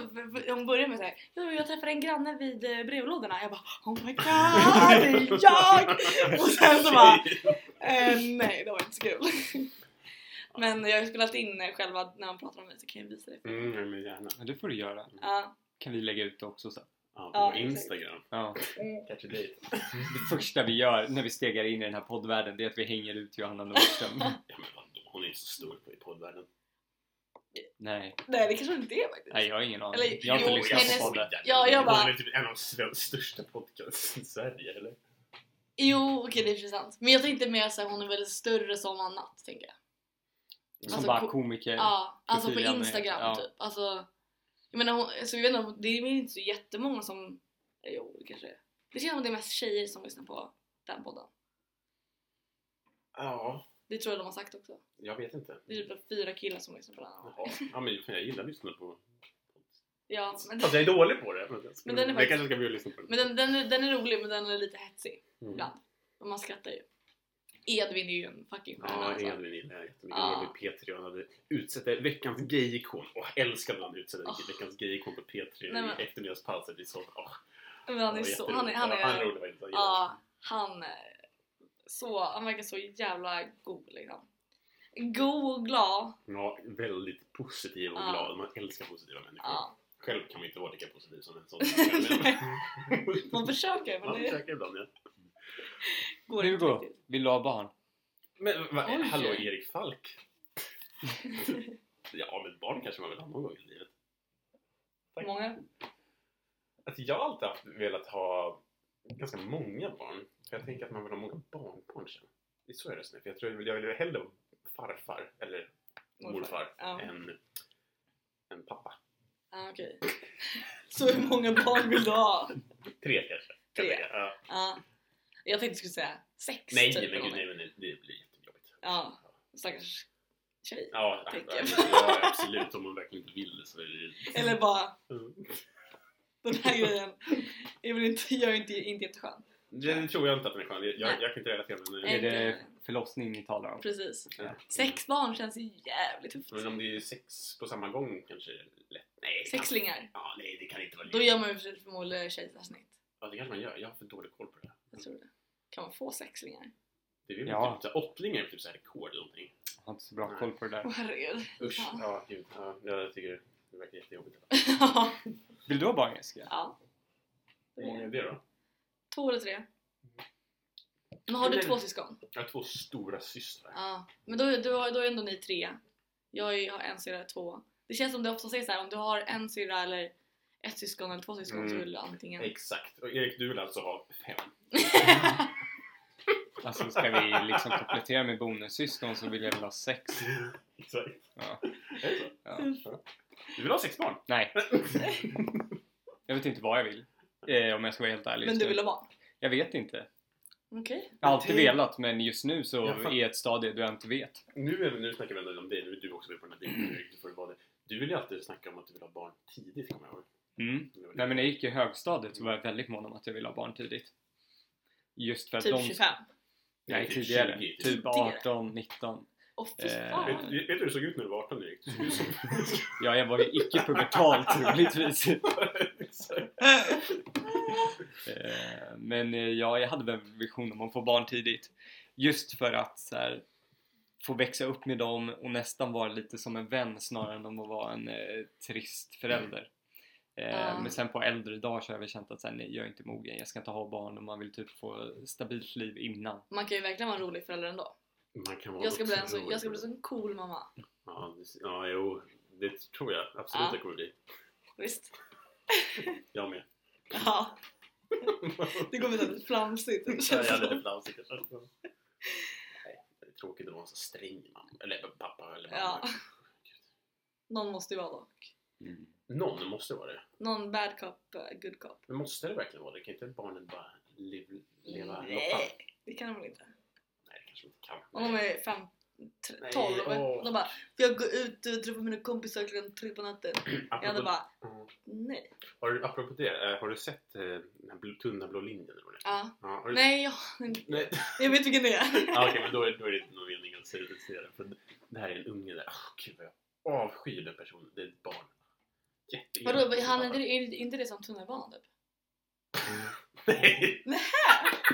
[SPEAKER 2] hon började med såhär, "Jo, jag träffade en granne vid eh, brevlådorna. Jag bara Oh my god, det är jag! Och sen så bara eh, Nej, det var inte så kul. Men jag har ju spelat in eh, själva när hon pratar om mig så kan jag visa det.
[SPEAKER 1] Mm, nej, men gärna.
[SPEAKER 3] Ja, det får du göra.
[SPEAKER 2] Ja.
[SPEAKER 3] Kan vi lägga ut det också sen.
[SPEAKER 1] Ja, på
[SPEAKER 2] Ja, exakt.
[SPEAKER 1] Instagram.
[SPEAKER 3] Ja.
[SPEAKER 2] Eh,
[SPEAKER 1] Catch a date.
[SPEAKER 3] Det första vi gör när vi stegar in i den här poddvärlden det är att vi hänger ut
[SPEAKER 2] (laughs)
[SPEAKER 3] Johanna Nordström.
[SPEAKER 1] Ja, men vadå? Hon är inte så stor på i poddvärlden.
[SPEAKER 3] Nej,
[SPEAKER 2] Nej, det kanske hon inte är faktiskt.
[SPEAKER 3] nej, jag har ingen aning.
[SPEAKER 2] Eller-
[SPEAKER 3] jag har inte
[SPEAKER 2] jo,
[SPEAKER 3] lyssnat
[SPEAKER 2] hennes-
[SPEAKER 3] på podden.
[SPEAKER 2] Ja, jag bara-
[SPEAKER 1] Hon är typ en av Sveriges största podcasts i Sverige, eller?
[SPEAKER 2] Jo, okej det är intressant. Men jag tänkte mer såhär, hon är väl större som annat tänker jag.
[SPEAKER 3] Som
[SPEAKER 2] alltså,
[SPEAKER 3] bara
[SPEAKER 2] ko-
[SPEAKER 3] komiker.
[SPEAKER 2] Ja, alltså på
[SPEAKER 3] profilen är-
[SPEAKER 2] Instagram
[SPEAKER 3] Eh, ja.
[SPEAKER 2] typ. Alltså, jag menar, hon, så jag vet inte, det är väl inte så jättemånga som... eh, Jo, det kanske är. Det känns som att det är mest tjejer som lyssnar på den podden.
[SPEAKER 1] Ja,
[SPEAKER 2] Det tror jag de har sagt också.
[SPEAKER 1] jag vet inte.
[SPEAKER 2] Det är typ fyra killar som lyssnar på den.
[SPEAKER 1] Jaha. Ja, men fan, jag gillar att lyssna på...
[SPEAKER 2] Ja, Alltså, men,
[SPEAKER 1] Fast jag är dålig på det. Men, jag skulle-
[SPEAKER 2] Men den är
[SPEAKER 1] Alltså, jag
[SPEAKER 2] faktiskt-
[SPEAKER 1] kanske ska börja lyssna på den.
[SPEAKER 2] men den, den, är, den är rolig men den är lite hetsig
[SPEAKER 1] Mm.
[SPEAKER 2] ibland. Och man skrattar ju. Edvin är ju en fucking stjärna
[SPEAKER 1] Ja,
[SPEAKER 2] alltså.
[SPEAKER 1] Edvin gillar jag jättemycket.
[SPEAKER 2] Ja.
[SPEAKER 1] Han var med i P3 och han hade utsett veckans gay-ikon. Och jag älskar när han utsätter veckans gay-ikon på P3
[SPEAKER 2] Nej, men-
[SPEAKER 1] i eftermiddagspasset. Det är så... åh,
[SPEAKER 2] Men han
[SPEAKER 1] det
[SPEAKER 2] är
[SPEAKER 1] var
[SPEAKER 2] så...
[SPEAKER 1] jätteroligt.
[SPEAKER 2] Han är... Han
[SPEAKER 1] Ja, han är
[SPEAKER 2] är
[SPEAKER 1] rolig faktiskt. Jag gillar
[SPEAKER 2] ja, han... är Så, han verkar så jävla god liksom. God och glad.
[SPEAKER 1] Ja, väldigt positiv och
[SPEAKER 2] Ja.
[SPEAKER 1] glad. Man älskar positiva människor.
[SPEAKER 2] Ja.
[SPEAKER 1] Själv kan man inte vara lika positiv som
[SPEAKER 2] (laughs)
[SPEAKER 1] en sån. Men- (laughs)
[SPEAKER 2] Man försöker men
[SPEAKER 1] Man
[SPEAKER 2] det
[SPEAKER 1] försöker ibland ja.
[SPEAKER 2] går inte
[SPEAKER 3] Hugo,
[SPEAKER 2] riktigt.
[SPEAKER 3] vill du ha barn?
[SPEAKER 1] Men va,
[SPEAKER 2] Oj.
[SPEAKER 1] hallå Erik
[SPEAKER 2] (laughs)
[SPEAKER 1] Falk? ja, men barn kanske man vill ha någon gång i livet. Tack.
[SPEAKER 2] Många.
[SPEAKER 1] Alltså, jag har alltid haft, velat ha ganska många barn. För jag tänker att man vill ha många barnbarn sen. Det är så jag resonerar. För jag tror jag vill, jag vill hellre vara farfar eller morfar
[SPEAKER 2] Ja.
[SPEAKER 1] än, än pappa.
[SPEAKER 2] Ja, okej. (laughs) Så hur många barn vill du ha?
[SPEAKER 1] Tre kanske. kan
[SPEAKER 2] Tre.
[SPEAKER 1] jag tänka. Ja.
[SPEAKER 2] Ja. Jag tänkte du skulle säga sex
[SPEAKER 1] Nej,
[SPEAKER 2] typ.
[SPEAKER 1] men
[SPEAKER 2] eller
[SPEAKER 1] gud, nej,
[SPEAKER 2] någonting.
[SPEAKER 1] men det det blir jättejobbigt.
[SPEAKER 2] Ja, stackars tjej.
[SPEAKER 1] Ja, ja,
[SPEAKER 2] Tänker
[SPEAKER 1] ja,
[SPEAKER 2] jag.
[SPEAKER 1] ja, absolut. Om man verkligen inte vill det så är det ju...
[SPEAKER 2] Eller bara
[SPEAKER 1] Mm.
[SPEAKER 2] den här grejen. Jag vill inte, jag är inte, inte jätteskön.
[SPEAKER 1] Det tror jag inte att den är skön. Jag,
[SPEAKER 2] Nej.
[SPEAKER 1] jag, jag kan inte relatera med
[SPEAKER 2] Nej.
[SPEAKER 1] den.
[SPEAKER 3] Är det förlossning ni talar om?
[SPEAKER 2] Precis.
[SPEAKER 1] Ja.
[SPEAKER 2] Sex barn känns ju jävligt tufft.
[SPEAKER 1] Men om det är sex på samma gång kanske är lätt. Nej, det kan,
[SPEAKER 2] Sexlingar.
[SPEAKER 1] ja, nej, det kan inte vara
[SPEAKER 2] Då
[SPEAKER 1] lätt.
[SPEAKER 2] gör man ju för- förmodligen kejsarsnitt.
[SPEAKER 1] Ja, det kanske man gör. Jag har för dålig koll på det.
[SPEAKER 2] Jag tror det. Kan man få sexlingar?
[SPEAKER 1] Det är väl
[SPEAKER 3] Ja.
[SPEAKER 1] typ, så här, åttlingar är väl typ så här rekord eller någonting.
[SPEAKER 3] Jag har inte så bra koll på det där.
[SPEAKER 2] Åh (laughs) herregud.
[SPEAKER 1] Usch.
[SPEAKER 2] Ja.
[SPEAKER 1] Ja, gud. Ja, jag tycker det verkar jättejobbigt.
[SPEAKER 3] Vill du ha barn Jessica?
[SPEAKER 2] ja.
[SPEAKER 1] Hur många är det då?
[SPEAKER 2] Två eller tre. Men har du två syskon?
[SPEAKER 1] Jag har två stora systrar.
[SPEAKER 2] Ja. Men då, är- då, har- då är ändå ni tre. Jag är- har en syrra och två. Det känns som det ofta sägs såhär om du har en syrra eller ett syskon eller två syskon så
[SPEAKER 1] Mm.
[SPEAKER 2] vill du antingen...
[SPEAKER 1] Exakt. Och Erik, du vill alltså ha fem? (laughs)
[SPEAKER 3] Alltså ska vi liksom komplettera med bonussyskon så vill jag väl ha sex.
[SPEAKER 1] Exakt.
[SPEAKER 3] Ja.
[SPEAKER 1] Är det så?
[SPEAKER 3] Ja.
[SPEAKER 1] Du vill ha sex barn? (laughs)
[SPEAKER 3] Nej. Jag vet inte vad jag vill. Eh, om jag ska vara helt ärlig
[SPEAKER 2] Men
[SPEAKER 3] just
[SPEAKER 2] du
[SPEAKER 3] nu.
[SPEAKER 2] vill ha barn? Typ
[SPEAKER 3] Jag vet inte.
[SPEAKER 2] Okej.
[SPEAKER 3] Jag har alltid
[SPEAKER 1] Tänk-
[SPEAKER 3] velat men just nu så
[SPEAKER 1] Jag fatt-
[SPEAKER 3] är jag ett stadie då jag inte vet.
[SPEAKER 1] Nu, är, nu snackar vi ändå om dig, nu är du också med på den här dejten Erik, du får vara det. Du vill ju alltid snacka om att du vill ha barn tidigt kommer jag ihåg.
[SPEAKER 3] Mm. Nej men när jag gick i högstadiet så var jag väldigt mån om att jag ville ha barn tidigt. Just för att
[SPEAKER 2] Typ
[SPEAKER 3] Alltså, de...
[SPEAKER 2] 25.
[SPEAKER 3] Nej
[SPEAKER 1] Typ
[SPEAKER 3] tidigare.
[SPEAKER 1] 20, typ.
[SPEAKER 3] Typ
[SPEAKER 2] Tidigare.
[SPEAKER 3] 18, 19.
[SPEAKER 2] Åh fy
[SPEAKER 3] Eh,
[SPEAKER 2] fan.
[SPEAKER 1] Vet, vet du hur du såg ut när du var 18 Erik? Du såg ut som...
[SPEAKER 3] Ja jag var ju icke-pubertal (laughs) troligtvis.
[SPEAKER 1] Exakt.
[SPEAKER 3] Eh, Men eh, ja, jag hade väl en vision om att få barn tidigt. Just för att så här, få växa upp med dem och nästan vara lite som en vän snarare än om att vara en eh, trist förälder. Eh,
[SPEAKER 2] Ah.
[SPEAKER 3] Men sen på äldre dagar så har jag väl känt att så här, nej, jag är inte mogen, jag ska inte ha barn och man vill typ få stabilt liv innan.
[SPEAKER 2] Man kan ju verkligen vara en rolig förälder ändå.
[SPEAKER 1] (laughs) Man kan vara
[SPEAKER 2] Jag ska bli en så,
[SPEAKER 1] otrolig.
[SPEAKER 2] jag ska bli så en cool mamma.
[SPEAKER 1] Ja, det- ja, jo. Det tror jag absolut
[SPEAKER 2] Ja.
[SPEAKER 1] det kommer bli. (laughs)
[SPEAKER 2] Visst?
[SPEAKER 1] Jag
[SPEAKER 2] (laughs)
[SPEAKER 1] med.
[SPEAKER 2] Ja. Det kommer bli så
[SPEAKER 1] (laughs)
[SPEAKER 2] flamsigt. Det
[SPEAKER 1] Jag
[SPEAKER 2] känns
[SPEAKER 1] hade lite
[SPEAKER 2] som.
[SPEAKER 1] flamsig kanske. Nej, Det är tråkigt att vara en så sträng mamma. Eller pappa eller mamma.
[SPEAKER 2] Ja. Någon måste ju vara dock.
[SPEAKER 1] Någon måste vara det.
[SPEAKER 2] Någon bad cop, eh, good cop.
[SPEAKER 1] Men måste det verkligen vara det? Kan inte barnen bara liv, leva loppan?
[SPEAKER 2] Nej, det kan de väl inte.
[SPEAKER 1] Nej, det kanske de inte kan.
[SPEAKER 2] Om de är fem, tre,
[SPEAKER 1] Nej,
[SPEAKER 2] tolv
[SPEAKER 1] åh.
[SPEAKER 2] och de bara Får jag gå ut och träffa mina kompisar klockan tre på natten? Jag hade
[SPEAKER 1] Apropå-
[SPEAKER 2] bara
[SPEAKER 1] Mm.
[SPEAKER 2] nej.
[SPEAKER 1] Har du, apropå det, eh, har du sett eh, den här den bl- tunna blå linjen eller vad det
[SPEAKER 2] Ja.
[SPEAKER 1] Ja, har du-
[SPEAKER 2] Nej, jag,
[SPEAKER 1] Nej.
[SPEAKER 2] jag vet vilken
[SPEAKER 1] (laughs)
[SPEAKER 2] det är.
[SPEAKER 1] Ja, Okej, men då är, då är det inte någon mening att säga att säga det. För det här är en unge där. Oh, gud vad jag avskyr den personen. Det är ett barn. Jätteelakt.
[SPEAKER 2] Vadå, han är, det- är det inte det som tunnelbanan typ?
[SPEAKER 1] Nej!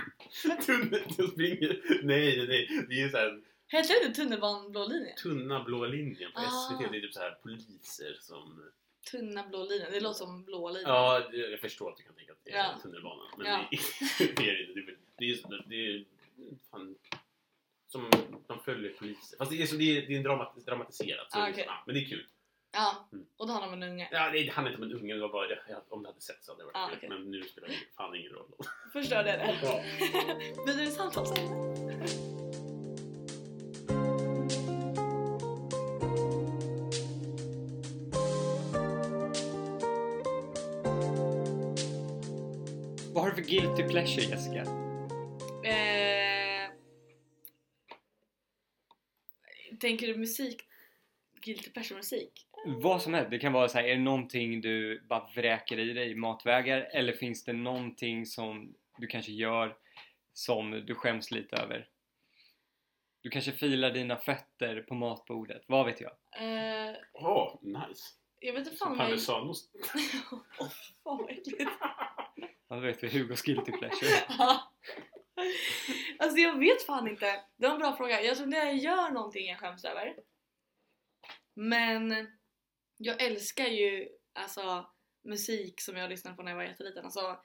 [SPEAKER 1] (laughs) Tunnet som springer. Nej, nej, nej. Det är ju så här
[SPEAKER 2] Heter det inte tunnelbanan blå linjen?
[SPEAKER 1] tunna blå linjen på
[SPEAKER 2] Ah.
[SPEAKER 1] SVT. Det är typ så här poliser som...
[SPEAKER 2] Tunna blå linjen, det låter som blå linjen.
[SPEAKER 1] Ja, det- jag förstår att du kan tänka att det är
[SPEAKER 2] Ja.
[SPEAKER 1] tunnelbanan. Men
[SPEAKER 2] Ja.
[SPEAKER 1] det, (laughs) det är det inte. Det är- Det är, som- det är fan, som de följer poliser. Fast det är, så, det är, det är dramat, dramatiserat. Så
[SPEAKER 2] Ah,
[SPEAKER 1] det är
[SPEAKER 2] okej.
[SPEAKER 1] så, ah, men det är kul.
[SPEAKER 2] Ja,
[SPEAKER 1] Mm.
[SPEAKER 2] och då handlar det om en unge.
[SPEAKER 1] Ja, det handlar inte om en unge. Det var bara det, jag- om det hade sett så hade det varit
[SPEAKER 2] Ah,
[SPEAKER 1] kul.
[SPEAKER 2] okej.
[SPEAKER 1] Men nu spelar det fan ingen
[SPEAKER 2] (laughs)
[SPEAKER 1] roll.
[SPEAKER 2] Förstörde jag det?
[SPEAKER 1] Ja.
[SPEAKER 2] Vidare samtalsämne.
[SPEAKER 3] Vad har du för guilty pleasure Jessica?
[SPEAKER 2] Eh, tänker du musik? Guilty pleasure musik?
[SPEAKER 3] Vad som helst. Det kan vara så här, är det någonting du bara vräker i dig i matvägar? Eller finns det någonting som du kanske gör som du skäms lite över? Du kanske filar dina fötter på matbordet, vad vet jag?
[SPEAKER 2] Eh,
[SPEAKER 1] Åh, nice.
[SPEAKER 2] jag vet inte fan
[SPEAKER 1] Som
[SPEAKER 2] vad jag...
[SPEAKER 1] Parmesanost.
[SPEAKER 2] Åh, fan vad äckligt. (laughs)
[SPEAKER 3] Ja, då vet vi Hugos guilty (laughs) pleasure.
[SPEAKER 2] alltså jag vet fan inte. Det var en bra fråga. Jag tror inte jag gör någonting jag skäms över. Men jag älskar ju alltså musik som jag lyssnade på när jag var jätteliten. Alltså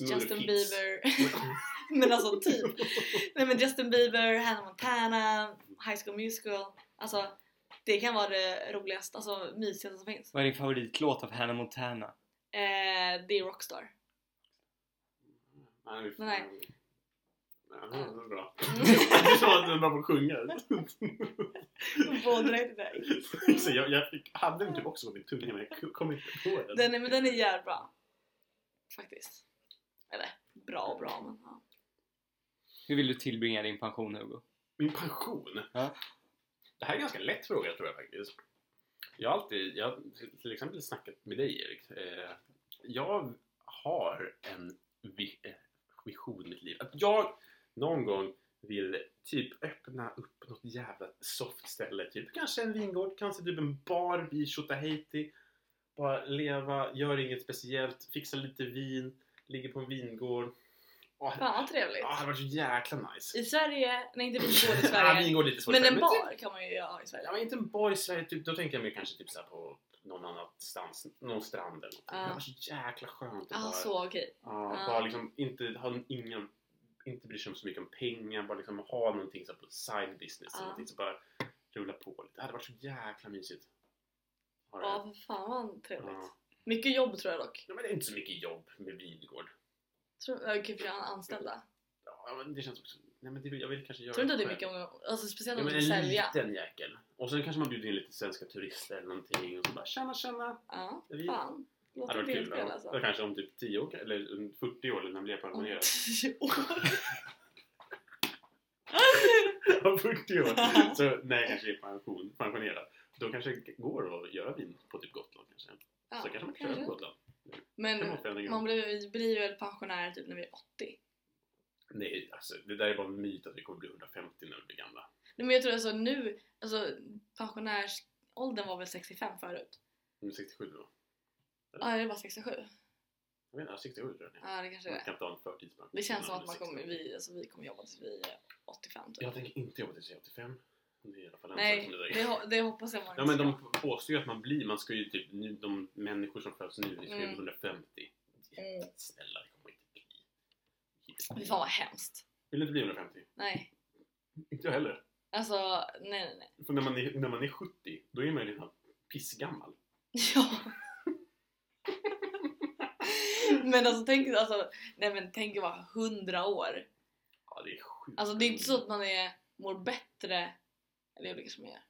[SPEAKER 2] Justin
[SPEAKER 1] Snurrepix.
[SPEAKER 2] Bieber. (laughs) men alltså typ. Nej men Justin Bieber, Hannah Montana, High School Musical. Alltså det kan vara det roligaste, alltså mysigaste som finns.
[SPEAKER 3] Vad är din favoritlåt av Hannah Montana?
[SPEAKER 2] Eh, det
[SPEAKER 1] (laughs)
[SPEAKER 2] är Rockstar.
[SPEAKER 1] (laughs) Nej. vi-
[SPEAKER 2] Nej.
[SPEAKER 1] Ja, det är bra. (laughs)
[SPEAKER 2] Mm.
[SPEAKER 1] Det är som att du är bra på att sjunga. (laughs)
[SPEAKER 2] Båda är det.
[SPEAKER 1] Så jag, jag fick, hade den typ också på min tunga men jag kom inte på den.
[SPEAKER 2] Den är, men den är jävligt bra. Faktiskt. Eller bra och bra men ja.
[SPEAKER 3] Hur vill du tillbringa din pension Hugo?
[SPEAKER 1] Min pension?
[SPEAKER 3] Ja.
[SPEAKER 1] Det här är en ganska lätt fråga tror jag faktiskt. Jag har alltid, jag har till exempel snackat med dig Erik. Eh, jag har en vi, eh, vision i mitt liv. Att jag någon gång vill typ öppna upp något jävla soft ställe. Typ kanske en vingård, kanske typ en bar vid Tjotahejti. Bara leva, gör inget speciellt, fixa lite vin, ligger på en vingård. Åh,
[SPEAKER 2] Fan vad trevligt.
[SPEAKER 1] ah, det hade varit så jäkla nice.
[SPEAKER 2] I Sverige,
[SPEAKER 1] (laughs)
[SPEAKER 2] nej inte vi går i
[SPEAKER 1] Ja,
[SPEAKER 2] Sverige.
[SPEAKER 1] vingård lite svårt
[SPEAKER 2] Men
[SPEAKER 1] för
[SPEAKER 2] en
[SPEAKER 1] mig.
[SPEAKER 2] bar kan man ju ha
[SPEAKER 1] Ja,
[SPEAKER 2] i Sverige.
[SPEAKER 1] men inte en bar i Sverige, typ, då tänker jag mig kanske typ så här på någon annanstans, någon strand eller något.
[SPEAKER 2] Ja.
[SPEAKER 1] Det var så jäkla skönt att
[SPEAKER 2] Ja
[SPEAKER 1] bara,
[SPEAKER 2] Ah, så ah. okej.
[SPEAKER 1] ja,
[SPEAKER 2] Ja.
[SPEAKER 1] bara liksom inte ha ingen, inte bry sig om så mycket om pengar, bara liksom ha någonting så här på side business
[SPEAKER 2] Ja.
[SPEAKER 1] eller någonting så bara rulla på lite. Det hade varit så jäkla mysigt. Har det.
[SPEAKER 2] Ja för fan vad trevligt.
[SPEAKER 1] Ja.
[SPEAKER 2] Mycket jobb tror jag dock.
[SPEAKER 1] Ja, men det är inte så mycket jobb med vingård.
[SPEAKER 2] Tror, ja, okej för jag har anställda.
[SPEAKER 1] Ja, men det känns också... Nej, men det, vill- jag vill kanske göra
[SPEAKER 2] Tror du inte att det är
[SPEAKER 1] själv.
[SPEAKER 2] mycket om, alltså speciellt
[SPEAKER 1] Ja,
[SPEAKER 2] om
[SPEAKER 1] men
[SPEAKER 2] du
[SPEAKER 1] en
[SPEAKER 2] vill sälja?
[SPEAKER 1] liten jäkel. Och sen kanske man bjuder in lite svenska turister eller någonting och så bara tjena tjena.
[SPEAKER 2] Ja,
[SPEAKER 1] Vi-
[SPEAKER 2] fan.
[SPEAKER 1] Det hade
[SPEAKER 2] Låter
[SPEAKER 1] varit kul.
[SPEAKER 2] bildspel
[SPEAKER 1] ja.
[SPEAKER 2] alltså.
[SPEAKER 1] Eller kanske om typ 10 år eller om 40 år när man blir
[SPEAKER 2] Om (laughs)
[SPEAKER 1] pensionerad.
[SPEAKER 2] tio år.
[SPEAKER 1] Om 40 år! (laughs) Så när jag kanske är pension, pensionerad. Då kanske det går att göra vin på typ Gotland kanske.
[SPEAKER 2] Ja,
[SPEAKER 1] så kanske man kan
[SPEAKER 2] kanske. Mm.
[SPEAKER 1] köra på Gotland. Det
[SPEAKER 2] Men
[SPEAKER 1] var förändringen.
[SPEAKER 2] man blir, blir väl pensionär typ när vi är 80?
[SPEAKER 1] Nej, alltså det där är bara en myt att vi kommer bli 150 när vi blir gamla.
[SPEAKER 2] Nej, men jag tror alltså nu, alltså pensionärsåldern var väl 65 förut?
[SPEAKER 1] Nu är 67 då.
[SPEAKER 2] Ja, det var 67.
[SPEAKER 1] Jag menar 67 tror jag.
[SPEAKER 2] Ja, det kanske det
[SPEAKER 1] Man
[SPEAKER 2] är.
[SPEAKER 1] kan inte ha en förtidspension.
[SPEAKER 2] Det känns som
[SPEAKER 1] innan
[SPEAKER 2] att man
[SPEAKER 1] är 60.
[SPEAKER 2] kommer, vi, alltså, vi kommer jobba tills vi är 85 typ.
[SPEAKER 1] Jag tänker inte jobba tills jag är 85. Det är i alla fall en sak
[SPEAKER 2] Nej,
[SPEAKER 1] som är-
[SPEAKER 2] det, ho- det hoppas jag man
[SPEAKER 1] Ja men de påstår ju att man blir, man ska ju typ, nu- de människor som föds nu, det ska ju
[SPEAKER 2] Mm.
[SPEAKER 1] bli 150.
[SPEAKER 2] Mm.
[SPEAKER 1] Snälla, det kommer inte bli.
[SPEAKER 2] Fy fan vad hemskt.
[SPEAKER 1] Vill du inte bli 150?
[SPEAKER 2] Nej.
[SPEAKER 1] Inte jag heller.
[SPEAKER 2] Alltså, nej nej nej.
[SPEAKER 1] För när man är, när man är 70, då är man ju redan pissgammal.
[SPEAKER 2] Ja. men alltså tänk, alltså, nej men tänk att vara 100 år.
[SPEAKER 1] Ja, det är sjukt.
[SPEAKER 2] Alltså det är inte så att man är, mår bättre, eller jag vet inte som jag gör.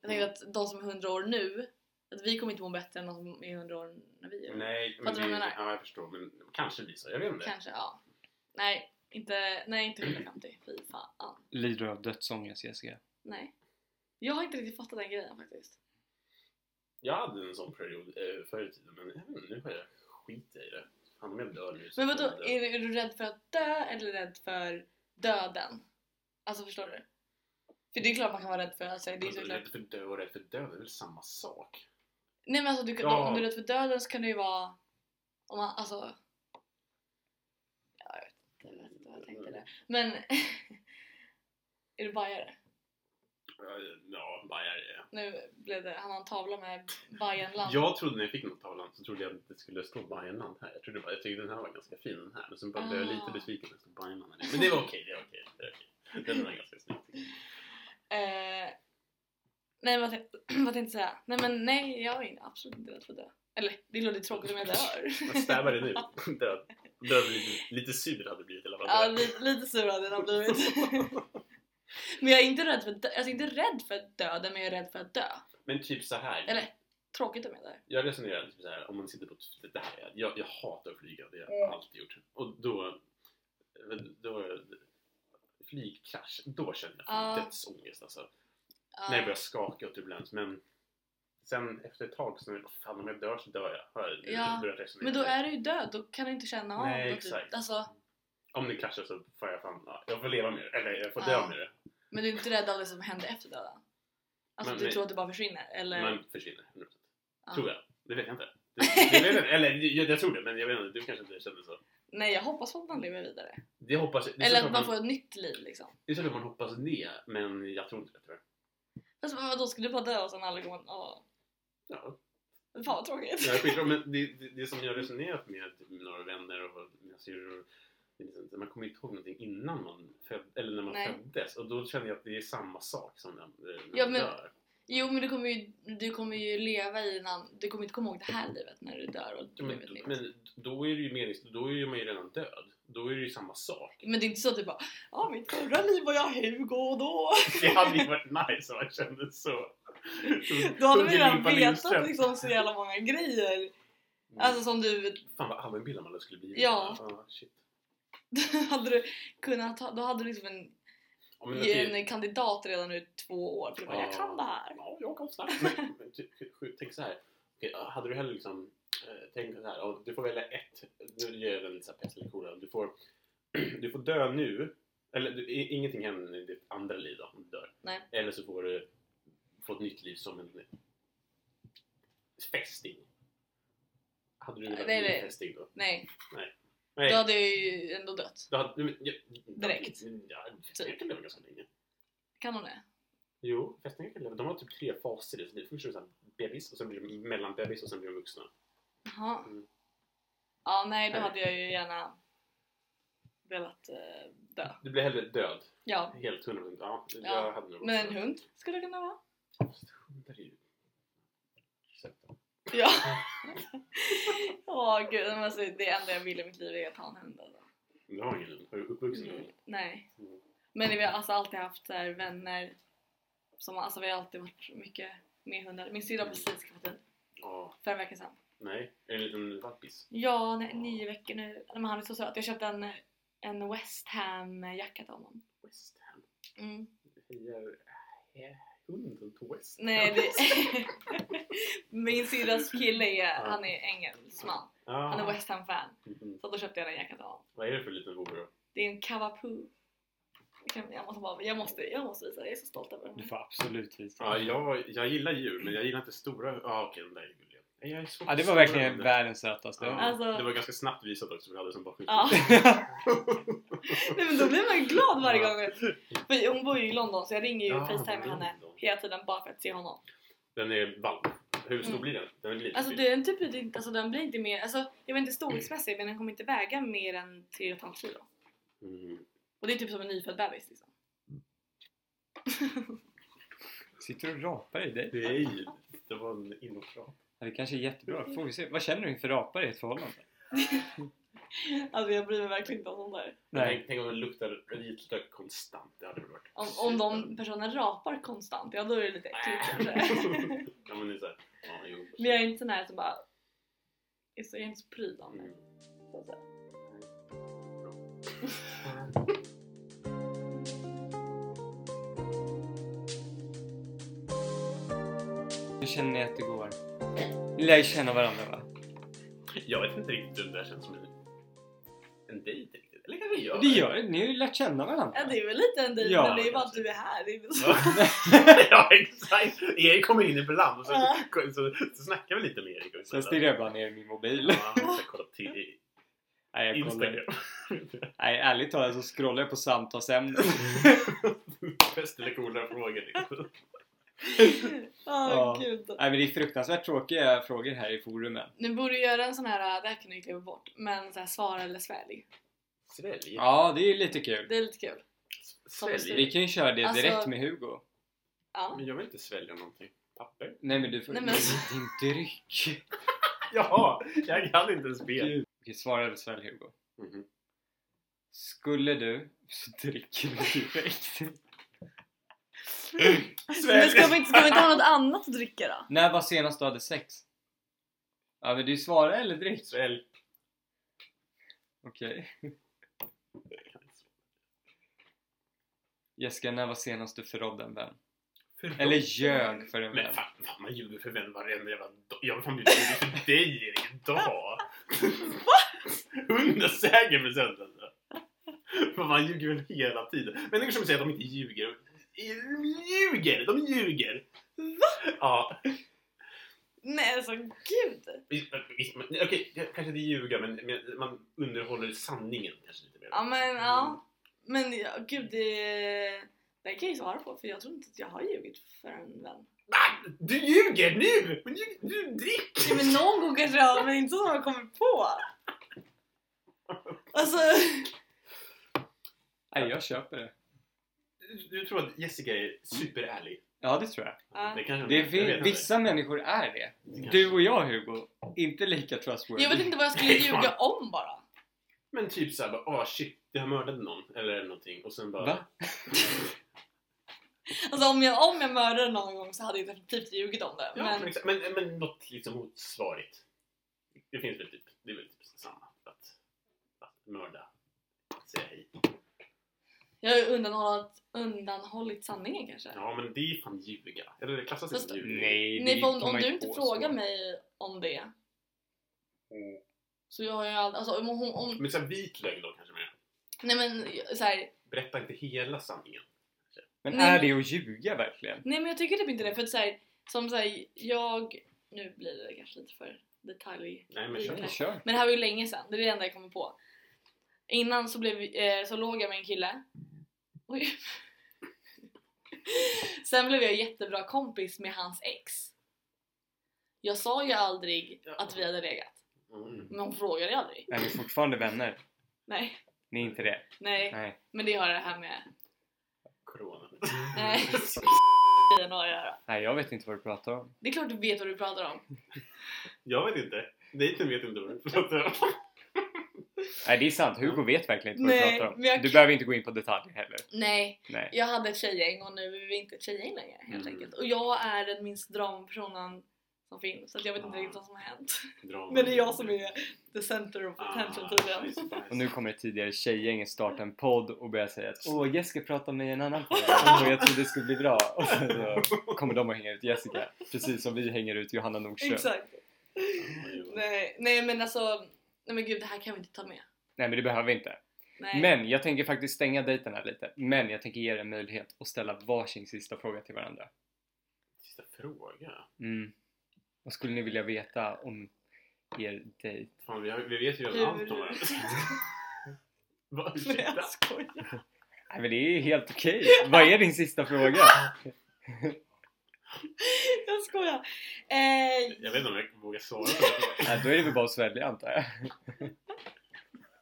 [SPEAKER 2] Jag tänker att de som är 100 år nu, att vi kommer inte må bättre än de som är 100 år när vi är
[SPEAKER 1] Nej, men
[SPEAKER 2] Fattar du vad jag
[SPEAKER 1] det-
[SPEAKER 2] menar?
[SPEAKER 1] Ja, jag förstår. Men kanske blir så. Jag vet inte.
[SPEAKER 2] Kanske, ja. Nej, inte, nej, inte 150. Fy fan.
[SPEAKER 3] Lider du av dödsångest Jessica?
[SPEAKER 2] Nej. Jag har inte riktigt fattat den grejen faktiskt.
[SPEAKER 1] Jag hade en sån period eh, förr i tiden, men jag vet inte, nu har jag skit i det. Han med dör nu. så
[SPEAKER 2] Men vadå,
[SPEAKER 1] han dör.
[SPEAKER 2] är, du- är du rädd för att dö eller rädd för döden? Alltså förstår du? För det är klart man kan vara rädd för, alltså, det är
[SPEAKER 1] Vadå,
[SPEAKER 2] såklart.
[SPEAKER 1] Rädd för död och rädd för död, det är väl samma sak?
[SPEAKER 2] Nej men alltså du, kan-
[SPEAKER 1] Ja.
[SPEAKER 2] om du är rädd för döden så kan det ju vara... Om man, alltså... Ja, jag vet inte, jag vet inte vad jag tänkte där. Men... (laughs) är du bajare?
[SPEAKER 1] Ja, bajare är jag.
[SPEAKER 2] Nu blev det, han har en tavla med Bajenland.
[SPEAKER 1] Jag trodde när jag fick den här tavlan så trodde jag att det skulle stå Bajenland här. Jag, trodde bara, jag tyckte den här var ganska fin den här. Men sen bara blev jag
[SPEAKER 2] Ah.
[SPEAKER 1] lite besviken när det stod Bajenland här. Men det var okej, det var okej. det var okej. Den var ganska snygg. tycker jag.
[SPEAKER 2] Eh, nej vad, tänkte- (clears throat) vad tänkte jag säga? Nej men nej jag är inte- absolut inte rädd för det. Eller det låter tråkigt om jag dör.
[SPEAKER 1] Jag stävar det nu.
[SPEAKER 2] (laughs)
[SPEAKER 1] Död. Död blir lite, lite sur hade det blivit i alla fall.
[SPEAKER 2] ja lite, lite sur hade den blivit. (laughs) men jag är inte rädd för dö- alltså, jag är inte rädd för döden men jag är rädd för att dö.
[SPEAKER 1] Men typ så här.
[SPEAKER 2] Eller tråkigt om jag dör.
[SPEAKER 1] Jag resonerar typ så här, om man sitter på ett, det här, är- jag, jag hatar att flyga, det har jag
[SPEAKER 2] Mm.
[SPEAKER 1] alltid gjort. Och då, eh, då, flygkrasch, då känner jag
[SPEAKER 2] Ah.
[SPEAKER 1] dödsångest alltså.
[SPEAKER 2] Ja.
[SPEAKER 1] När jag börjar skaka och turbulens. Men sen efter ett tag så är det bara, fan om jag dör så dör jag. Har jag
[SPEAKER 2] Ja,
[SPEAKER 1] börjat resonera.
[SPEAKER 2] men då är du ju död, då kan du inte känna av
[SPEAKER 1] Nej,
[SPEAKER 2] det,
[SPEAKER 1] exakt.
[SPEAKER 2] Alltså,
[SPEAKER 1] Om det kraschar så får jag fan, ja, jag får leva med det. Eller jag får
[SPEAKER 2] Ja.
[SPEAKER 1] dö med det.
[SPEAKER 2] men du är inte rädd av det som händer efter döden? Alltså
[SPEAKER 1] Men-
[SPEAKER 2] du
[SPEAKER 1] men-
[SPEAKER 2] tror att det bara försvinner? Eller?
[SPEAKER 1] Man försvinner. 100%.
[SPEAKER 2] Ja.
[SPEAKER 1] Tror jag. Det vet jag
[SPEAKER 2] (laughs)
[SPEAKER 1] inte. Det, det vet jag, eller jag, jag tror det men jag vet inte, du kanske inte känner så.
[SPEAKER 2] Nej jag hoppas på att man lever vidare.
[SPEAKER 1] Det hoppas jag. Det är
[SPEAKER 2] Eller
[SPEAKER 1] så
[SPEAKER 2] att man får
[SPEAKER 1] man,
[SPEAKER 2] ett nytt liv liksom.
[SPEAKER 1] det är så att man hoppas det men jag tror inte det tyvärr.
[SPEAKER 2] Fast vad- vadå, ska du bara dö och sen alla kommer åh,
[SPEAKER 1] Ja,
[SPEAKER 2] fan vad tråkigt.
[SPEAKER 1] Jag skiter men det, det, det som jag resonerat med typ, några vänner och mina syrror det är liksom, man kommer inte ihåg någonting innan man föd, eller när man
[SPEAKER 2] Nej.
[SPEAKER 1] föddes och då känner jag att det är samma sak som när, när
[SPEAKER 2] Ja,
[SPEAKER 1] man
[SPEAKER 2] men-
[SPEAKER 1] dör.
[SPEAKER 2] Jo men du kommer, ju, du kommer ju leva i en annan, du kommer inte komma ihåg det här livet när du dör och
[SPEAKER 1] Ja,
[SPEAKER 2] du
[SPEAKER 1] Men,
[SPEAKER 2] lever ett nytt. Men,
[SPEAKER 1] men då är det ju menings, då är ju man ju redan död. Då är det ju samma sak. (laughs)
[SPEAKER 2] det är inte så att du bara ja mitt förra liv var jag Hugo och då.
[SPEAKER 1] Det hade ju varit nice om man kände så.
[SPEAKER 2] Då hade vi
[SPEAKER 1] Hugger
[SPEAKER 2] redan
[SPEAKER 1] limpan i Mm.
[SPEAKER 2] vetat
[SPEAKER 1] Lindström.
[SPEAKER 2] liksom så jävla många grejer. Alltså som du, (laughs)
[SPEAKER 1] Fan vad allmänbildad man skulle bli.
[SPEAKER 2] Ja.
[SPEAKER 1] shit.
[SPEAKER 2] hade du kunnat ha, då hade du liksom en,
[SPEAKER 1] Ja, men,
[SPEAKER 2] ge
[SPEAKER 1] typ-
[SPEAKER 2] en kandidat redan nu två år. Du bara, jag
[SPEAKER 1] Ja.
[SPEAKER 2] kan det här.
[SPEAKER 1] Ja, jag kom snabbt. Men, men ty- sj- tänk så här. Okej, hade du hellre liksom eh, tänkt så här. ja, Du får välja ett. Nu ger jag den så här pest eller kolera. Du får, (clears throat) du får dö nu. Eller du, i- ingenting händer i ditt andra liv då, om du dör.
[SPEAKER 2] Nej.
[SPEAKER 1] Eller så får du få ett nytt liv som en fästing. Hade du velat bli
[SPEAKER 2] Nej,
[SPEAKER 1] en
[SPEAKER 2] nej.
[SPEAKER 1] fästing då?
[SPEAKER 2] Nej,
[SPEAKER 1] Nej.
[SPEAKER 2] då hade jag ju ändå dött.
[SPEAKER 1] då hade, men, ja,
[SPEAKER 2] Direkt.
[SPEAKER 1] Ja,
[SPEAKER 2] Typ.
[SPEAKER 1] fästingar kan leva ganska länge.
[SPEAKER 2] Kan hon det?
[SPEAKER 1] Jo, fästingar kan leva. De har typ tre faser i sitt liv. Först är de så här bebis, och sen blir de mellanbebis och sen blir de vuxna.
[SPEAKER 2] Jaha.
[SPEAKER 1] Mm.
[SPEAKER 2] Ja, nej då
[SPEAKER 1] Nej.
[SPEAKER 2] hade jag ju gärna velat eh, dö.
[SPEAKER 1] Du blir hellre död.
[SPEAKER 2] Ja,
[SPEAKER 1] Helt 100%. Ja, jag
[SPEAKER 2] Ja,
[SPEAKER 1] hade nog
[SPEAKER 2] men
[SPEAKER 1] också-
[SPEAKER 2] en hund skulle det kunna vara.
[SPEAKER 1] Fast hundar är ju... Ursäkta.
[SPEAKER 2] Ja. (laughs) Åh gud, men alltså, det enda jag vill i mitt liv är att ha en hund. Alltså.
[SPEAKER 1] Men Du har ingen hund? Har du uppvuxen med
[SPEAKER 2] Mm.
[SPEAKER 1] hund?
[SPEAKER 2] Nej.
[SPEAKER 1] Mm.
[SPEAKER 2] Men vi har alltså alltid haft så här, vänner som alltså, vi har alltid varit mycket med hundar. Min syrra har precis skaffat hund
[SPEAKER 1] Ja.
[SPEAKER 2] för en vecka sedan.
[SPEAKER 1] Nej. Är det en liten valpis?
[SPEAKER 2] Ja, nej, nio veckor nu. Nej, Men han är så söt. Jag köpte en, en West Ham jacka till honom.
[SPEAKER 1] West Ham?
[SPEAKER 2] Mm.
[SPEAKER 1] Hejar eh, hunden till West Ham?
[SPEAKER 2] Nej, det... (laughs) Min syrras kille är, han är engelsman.
[SPEAKER 1] Ah.
[SPEAKER 2] Han är West Ham-fan.
[SPEAKER 1] Mhm.
[SPEAKER 2] Så då köpte jag den jackan till honom.
[SPEAKER 1] Vad är det för liten vovve då?
[SPEAKER 2] Det är en Cavapoo. Jag kan- Jag måste, bara, jag, måste, jag måste visa, jag är så stolt över
[SPEAKER 3] Du (laughs)
[SPEAKER 2] den.
[SPEAKER 3] får absolut visa.
[SPEAKER 1] Ja, jag, jag gillar djur, men jag gillar inte stora... Ja, ah, okej, den där är gullig. Nej, jag är svårt
[SPEAKER 3] Ja, det
[SPEAKER 1] för stora
[SPEAKER 3] var verkligen
[SPEAKER 1] hundar.
[SPEAKER 3] världens sötaste.
[SPEAKER 1] Ja,
[SPEAKER 3] (laughs)
[SPEAKER 2] Alltså-
[SPEAKER 1] Det var ganska snabbt visat också, för vi hade det som bakgrund.
[SPEAKER 2] Ja. Nej men då blir man ju glad varje gång. vet du. För hon bor ju i London så jag ringer ju
[SPEAKER 1] Ja,
[SPEAKER 2] och facetimar
[SPEAKER 1] London.
[SPEAKER 2] henne hela tiden bara för att se honom.
[SPEAKER 1] Den är valp. Hur stor
[SPEAKER 2] Mm.
[SPEAKER 1] blir den? Den är liten.
[SPEAKER 2] Alltså den typ är inte, alltså den blir inte mer, alltså jag vet inte storleksmässigt men den kommer inte väga mer än 3,5 kilo.
[SPEAKER 1] Mm.
[SPEAKER 2] Och det är typ som en nyfödd bebis liksom.
[SPEAKER 3] Sitter du och rapar i dig?
[SPEAKER 1] Det är ju... Det var en inåtram.
[SPEAKER 3] Ja, det kanske är jättebra. Får vi se. Vad känner du inför rapar i ett förhållande?
[SPEAKER 2] Alltså jag bryr mig verkligen inte om sånt där.
[SPEAKER 1] Tänk, tänk om den luktar vitlök konstant. Det hade väl varit...
[SPEAKER 2] Om, om de personerna rapar konstant, ja då är det lite äckligt kanske.
[SPEAKER 1] ja men det är såhär... Ja, jo.
[SPEAKER 2] Men jag är inte sån här som bara... Jag är så- jag är inte så pryd av mig.
[SPEAKER 1] Mm.
[SPEAKER 2] så att säga.
[SPEAKER 3] Nu känner ni att det går. Ni lär ju känna varandra va?
[SPEAKER 1] Jag vet inte riktigt hur det där känns som en en dejt riktigt. Eller kanske gör
[SPEAKER 3] Det gör ni har ju lärt känna varandra.
[SPEAKER 2] Ja det är väl lite en dejt
[SPEAKER 3] Ja,
[SPEAKER 2] men det är bara att
[SPEAKER 1] kanske.
[SPEAKER 2] du är här. Det är inte så.
[SPEAKER 3] (laughs)
[SPEAKER 1] Ja. ja exakt! Erik kommer in ibland och så,
[SPEAKER 2] Ja.
[SPEAKER 1] så, så snackar vi lite med Erik. och så
[SPEAKER 3] Sen
[SPEAKER 1] där.
[SPEAKER 3] stirrar jag bara ner i min mobil.
[SPEAKER 1] Ja, jag ska kolla till
[SPEAKER 3] Nej, jag kollar.
[SPEAKER 1] Instagram.
[SPEAKER 3] (laughs) Nej, ärligt talat så scrollar jag på samtalsämnen.
[SPEAKER 1] Bäst eller coolare frågor.
[SPEAKER 3] (laughs)
[SPEAKER 1] liksom.
[SPEAKER 2] (laughs) Åh
[SPEAKER 3] Ja.
[SPEAKER 2] gud.
[SPEAKER 3] Nej, men det är fruktansvärt tråkiga frågor här i forumen.
[SPEAKER 2] Nu borde du göra en sån här, äh, det här kan du ju klippa bort, men så här, svara eller svälj.
[SPEAKER 1] Svälj.
[SPEAKER 3] Ja, det är ju lite kul.
[SPEAKER 2] Det är lite kul.
[SPEAKER 1] Svälj.
[SPEAKER 3] Vi kan ju köra det
[SPEAKER 2] Alltså-
[SPEAKER 3] direkt med Hugo.
[SPEAKER 2] Ja.
[SPEAKER 1] Men jag vill inte svälja någonting.
[SPEAKER 2] (laughs)
[SPEAKER 1] Papper?
[SPEAKER 3] Nej, men du får...
[SPEAKER 2] Nej,
[SPEAKER 3] Nej,
[SPEAKER 2] men-
[SPEAKER 3] Din dryck.
[SPEAKER 1] Jaha! Jag kan inte ens be.
[SPEAKER 3] Gud. Okej, svara eller svälj Hugo.
[SPEAKER 1] Mhm.
[SPEAKER 3] Skulle du så dricker du direkt. (laughs)
[SPEAKER 2] Men ska vi, inte, ska vi inte ha något annat att dricka då?
[SPEAKER 3] När var senast du hade sex? Ja men du svara eller drick.
[SPEAKER 1] Svälj.
[SPEAKER 3] Okej. Jessica, när var senast du förrådde en vän?
[SPEAKER 1] Förlåt.
[SPEAKER 3] Eller ljög för en
[SPEAKER 1] Men
[SPEAKER 3] vän?
[SPEAKER 1] fan, fan man ljuger för vem varenda jävla dag. Jag vill fan bli ljuger för dig Erik,
[SPEAKER 2] (laughs)
[SPEAKER 1] idag! Hundrasäker procent alltså! Fan, man ljuger väl hela tiden. Människor som säger att de inte ljuger. De ljuger! De ljuger! Va? Ja.
[SPEAKER 2] Nej alltså gud.
[SPEAKER 1] visst- visst, men- Okej, jag kanske inte ljuga men, men man underhåller sanningen kanske lite mer.
[SPEAKER 2] Ja men
[SPEAKER 1] Mm.
[SPEAKER 2] ja. Men ja, gud det, det kan jag ju svara på för jag tror inte att jag har ljugit för en vän.
[SPEAKER 1] Ah, Du ljuger nu! Men du, du dricker!
[SPEAKER 2] Nej, men någon gång kanske jag har, men inte som jag kommer på. Alltså,
[SPEAKER 3] Nej, jag köper det.
[SPEAKER 1] Du, du tror att Jessica är superärlig?
[SPEAKER 3] Ja, det tror jag.
[SPEAKER 2] Ja.
[SPEAKER 1] kanske hon
[SPEAKER 3] Det
[SPEAKER 1] är. Jag vet
[SPEAKER 3] fin-
[SPEAKER 1] inte.
[SPEAKER 3] vissa människor är det.
[SPEAKER 1] Det kanske-
[SPEAKER 3] Du och jag Hugo, inte lika trustworthy.
[SPEAKER 2] jag vet inte vad jag skulle ljuga om bara.
[SPEAKER 1] Men typ såhär bara, ah shit, jag har mördat någon eller någonting och sen bara...
[SPEAKER 3] Va?
[SPEAKER 2] Alltså om jag, om jag mördade någon gång så hade jag definitivt ljugit om det.
[SPEAKER 1] Ja, men,
[SPEAKER 2] men
[SPEAKER 1] exakt. men, men något liksom motsvarigt. Det finns väl typ, det är väl typ samma. Att, att mörda, att säga hej.
[SPEAKER 2] jag har ju undanhållit, undanhållit sanningen kanske.
[SPEAKER 1] Ja men det är fan ljuga. Eller det klassas
[SPEAKER 2] Fast-
[SPEAKER 1] inte som ljuga.
[SPEAKER 3] Nej,
[SPEAKER 2] Nej, för om,
[SPEAKER 3] kommer
[SPEAKER 2] om
[SPEAKER 3] jag
[SPEAKER 2] du inte
[SPEAKER 3] på
[SPEAKER 2] frågar
[SPEAKER 3] så.
[SPEAKER 2] mig om det
[SPEAKER 1] Mm.
[SPEAKER 2] så jag har ju aldrig, alltså om, om, om,
[SPEAKER 1] Men såhär vit lögn då kanske mer.
[SPEAKER 2] nej men så här,
[SPEAKER 1] Berätta inte hela sanningen.
[SPEAKER 3] Men
[SPEAKER 2] Nej,
[SPEAKER 3] är
[SPEAKER 2] men-
[SPEAKER 3] det att ljuga verkligen?
[SPEAKER 2] nej men jag tycker typ inte det för att så här, som så här, jag, nu blir det kanske lite för detalj.
[SPEAKER 1] Nej men kör.
[SPEAKER 2] Nej.
[SPEAKER 3] Kör.
[SPEAKER 2] Men det här var ju länge sedan, det är det enda jag kommer på. Innan så, blev, eh, så låg jag med en kille. Oj. (laughs) Sen blev jag jättebra kompis med hans ex. Jag sa ju aldrig att vi hade legat.
[SPEAKER 1] Mm.
[SPEAKER 2] Men hon frågade ju aldrig.
[SPEAKER 3] Nej, vi är fortfarande vänner.
[SPEAKER 2] Nej,
[SPEAKER 3] Ni är inte det?
[SPEAKER 2] nej.
[SPEAKER 3] Nej.
[SPEAKER 2] Men det har det här med
[SPEAKER 1] Corona.
[SPEAKER 2] Nej.
[SPEAKER 1] (laughs)
[SPEAKER 2] (laughs) grejen att göra.
[SPEAKER 3] Nej, jag vet inte vad du pratar om.
[SPEAKER 2] Det är klart du vet vad du pratar om.
[SPEAKER 1] Jag vet inte. Dejten vet inte vad
[SPEAKER 2] Mm.
[SPEAKER 1] du pratar om.
[SPEAKER 3] Nej, det är sant. Hugo vet verkligen inte vad
[SPEAKER 2] Nej,
[SPEAKER 3] du pratar om.
[SPEAKER 2] men jag
[SPEAKER 3] Du
[SPEAKER 2] kan-
[SPEAKER 3] behöver inte gå in på detaljer heller.
[SPEAKER 2] Nej,
[SPEAKER 3] Nej.
[SPEAKER 2] jag hade ett tjejgäng och nu är vi inte ett tjejgäng längre helt
[SPEAKER 1] Mm.
[SPEAKER 2] enkelt. Och jag är den minst dramapersonen som finns. Så att jag vet inte
[SPEAKER 1] Ah.
[SPEAKER 2] riktigt vad som har hänt.
[SPEAKER 1] Drama.
[SPEAKER 2] Men det är jag som är the center
[SPEAKER 1] Ah,
[SPEAKER 2] of attention tydligen.
[SPEAKER 1] nice, nice.
[SPEAKER 3] Och nu kommer ett tidigare tjejgänget starta en podd och börja säga att Åh, Jessica pratar med en annan
[SPEAKER 2] (laughs)
[SPEAKER 3] podd och jag trodde det skulle bli bra. Och sen så kommer de att hänga ut Jessica. Precis som vi hänger ut Johanna Nordström.
[SPEAKER 2] Exakt.
[SPEAKER 1] Ja,
[SPEAKER 2] Nej, nej men alltså, nej men gud det här kan vi inte ta med.
[SPEAKER 3] Nej, men det behöver vi inte.
[SPEAKER 2] Nej.
[SPEAKER 3] Men jag tänker faktiskt stänga dejten här lite. Men jag tänker ge er en möjlighet att ställa varsin sista fråga till varandra.
[SPEAKER 1] Sista fråga.
[SPEAKER 3] Mm. Vad skulle ni vilja veta om er dejt?
[SPEAKER 1] Fan, vi, har, vi vet ju
[SPEAKER 2] Hur-
[SPEAKER 1] redan allt om varandra.
[SPEAKER 2] (laughs)
[SPEAKER 1] Va?
[SPEAKER 2] (laughs) Nej, alltså.
[SPEAKER 1] Ursäkta?
[SPEAKER 2] jag skojar.
[SPEAKER 3] Nej, men det är ju helt okej. Vad är din sista fråga?
[SPEAKER 2] Jag skojar. Eh,
[SPEAKER 1] Jag vet inte om jag vågar svara på det.
[SPEAKER 2] (laughs)
[SPEAKER 3] Nej, då är det väl bara att svälja antar jag.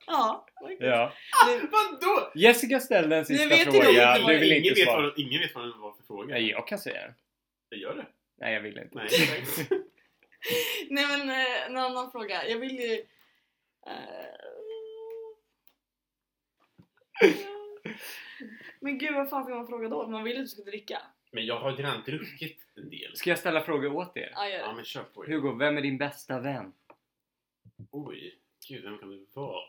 [SPEAKER 2] ja. faktiskt.
[SPEAKER 3] Ja.
[SPEAKER 2] Nu-
[SPEAKER 1] Vadå?
[SPEAKER 3] Jessica ställde en sista
[SPEAKER 2] Nu vet inte
[SPEAKER 3] fråga.
[SPEAKER 2] jag
[SPEAKER 3] du vill
[SPEAKER 1] ingen,
[SPEAKER 3] inte
[SPEAKER 1] vet
[SPEAKER 3] svara.
[SPEAKER 1] vad, ingen vet vad det var för fråga.
[SPEAKER 3] Nej, jag kan säga den.
[SPEAKER 1] Jag gör det.
[SPEAKER 3] Nej, jag
[SPEAKER 2] (laughs)
[SPEAKER 3] vill inte.
[SPEAKER 1] Nej, exakt.
[SPEAKER 2] (laughs) Nej men eh, en annan fråga. Jag vill ju... Eh, men gud vad fan ska man fråga då? Man vill ju att du ska dricka.
[SPEAKER 1] men jag har redan druckit en del.
[SPEAKER 3] Ska jag ställa frågor åt er?
[SPEAKER 2] Ja, gör
[SPEAKER 1] Ja,
[SPEAKER 2] det.
[SPEAKER 1] men kör på. er.
[SPEAKER 3] Hugo, vem är din bästa vän?
[SPEAKER 1] Oj, gud, vem kan det
[SPEAKER 2] (laughs)
[SPEAKER 1] vara?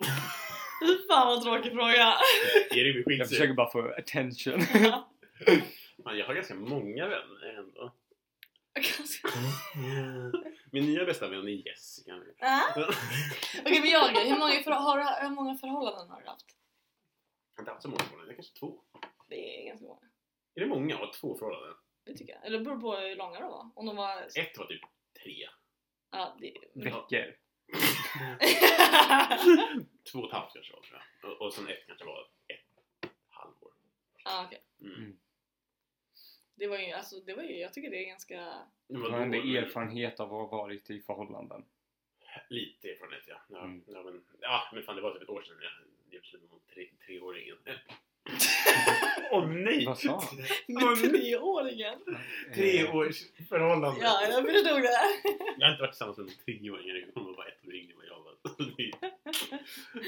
[SPEAKER 2] Fy fan vad tråkig fråga. (laughs)
[SPEAKER 1] Erik blir
[SPEAKER 3] Jag
[SPEAKER 1] skitsur.
[SPEAKER 3] försöker bara få attention.
[SPEAKER 1] Fan, Jag har ganska många vänner ändå.
[SPEAKER 2] Jag kan-
[SPEAKER 1] Min nya bästa vän är Jessica.
[SPEAKER 2] Ah. Okej men jag hur många, förho- har, du- hur många förhållanden har du haft?
[SPEAKER 1] Inte alls så många förhållanden, kanske två.
[SPEAKER 2] Det är ganska många.
[SPEAKER 1] Är det många? Ja, två förhållanden.
[SPEAKER 2] Det tycker jag. Eller det beror på hur långa de var. Om de var...
[SPEAKER 1] Ett var typ tre.
[SPEAKER 2] Ja, det...
[SPEAKER 3] Veckor.
[SPEAKER 1] Två och ett halvt kanske var tror jag. Och, och sen ett kanske var ett halvår.
[SPEAKER 2] ja okej.
[SPEAKER 1] Mm.
[SPEAKER 2] Det var ju, alltså det var ju, jag tycker det är ganska...
[SPEAKER 1] Det
[SPEAKER 3] Jag
[SPEAKER 1] var
[SPEAKER 3] har ändå
[SPEAKER 1] då, men
[SPEAKER 3] erfarenhet av att ha varit i
[SPEAKER 2] (laughs)
[SPEAKER 3] förhållanden.
[SPEAKER 1] Lite erfarenhet ja. Ja,
[SPEAKER 3] Mm.
[SPEAKER 1] ja, men, ja men fan det var typ ett år sedan jag gjorde slut med hon tre,
[SPEAKER 3] (laughs)
[SPEAKER 1] treåringen. Åh nej!
[SPEAKER 3] Vad sa han?
[SPEAKER 2] (laughs) Med treåringen!
[SPEAKER 3] Eh,
[SPEAKER 1] Treårsförhållande!
[SPEAKER 2] Ja, jag förstod det.
[SPEAKER 1] Jag har inte varit tillsammans med en treåring. Det kommer vara ett år yngre än vad jag var. (laughs)
[SPEAKER 2] Åh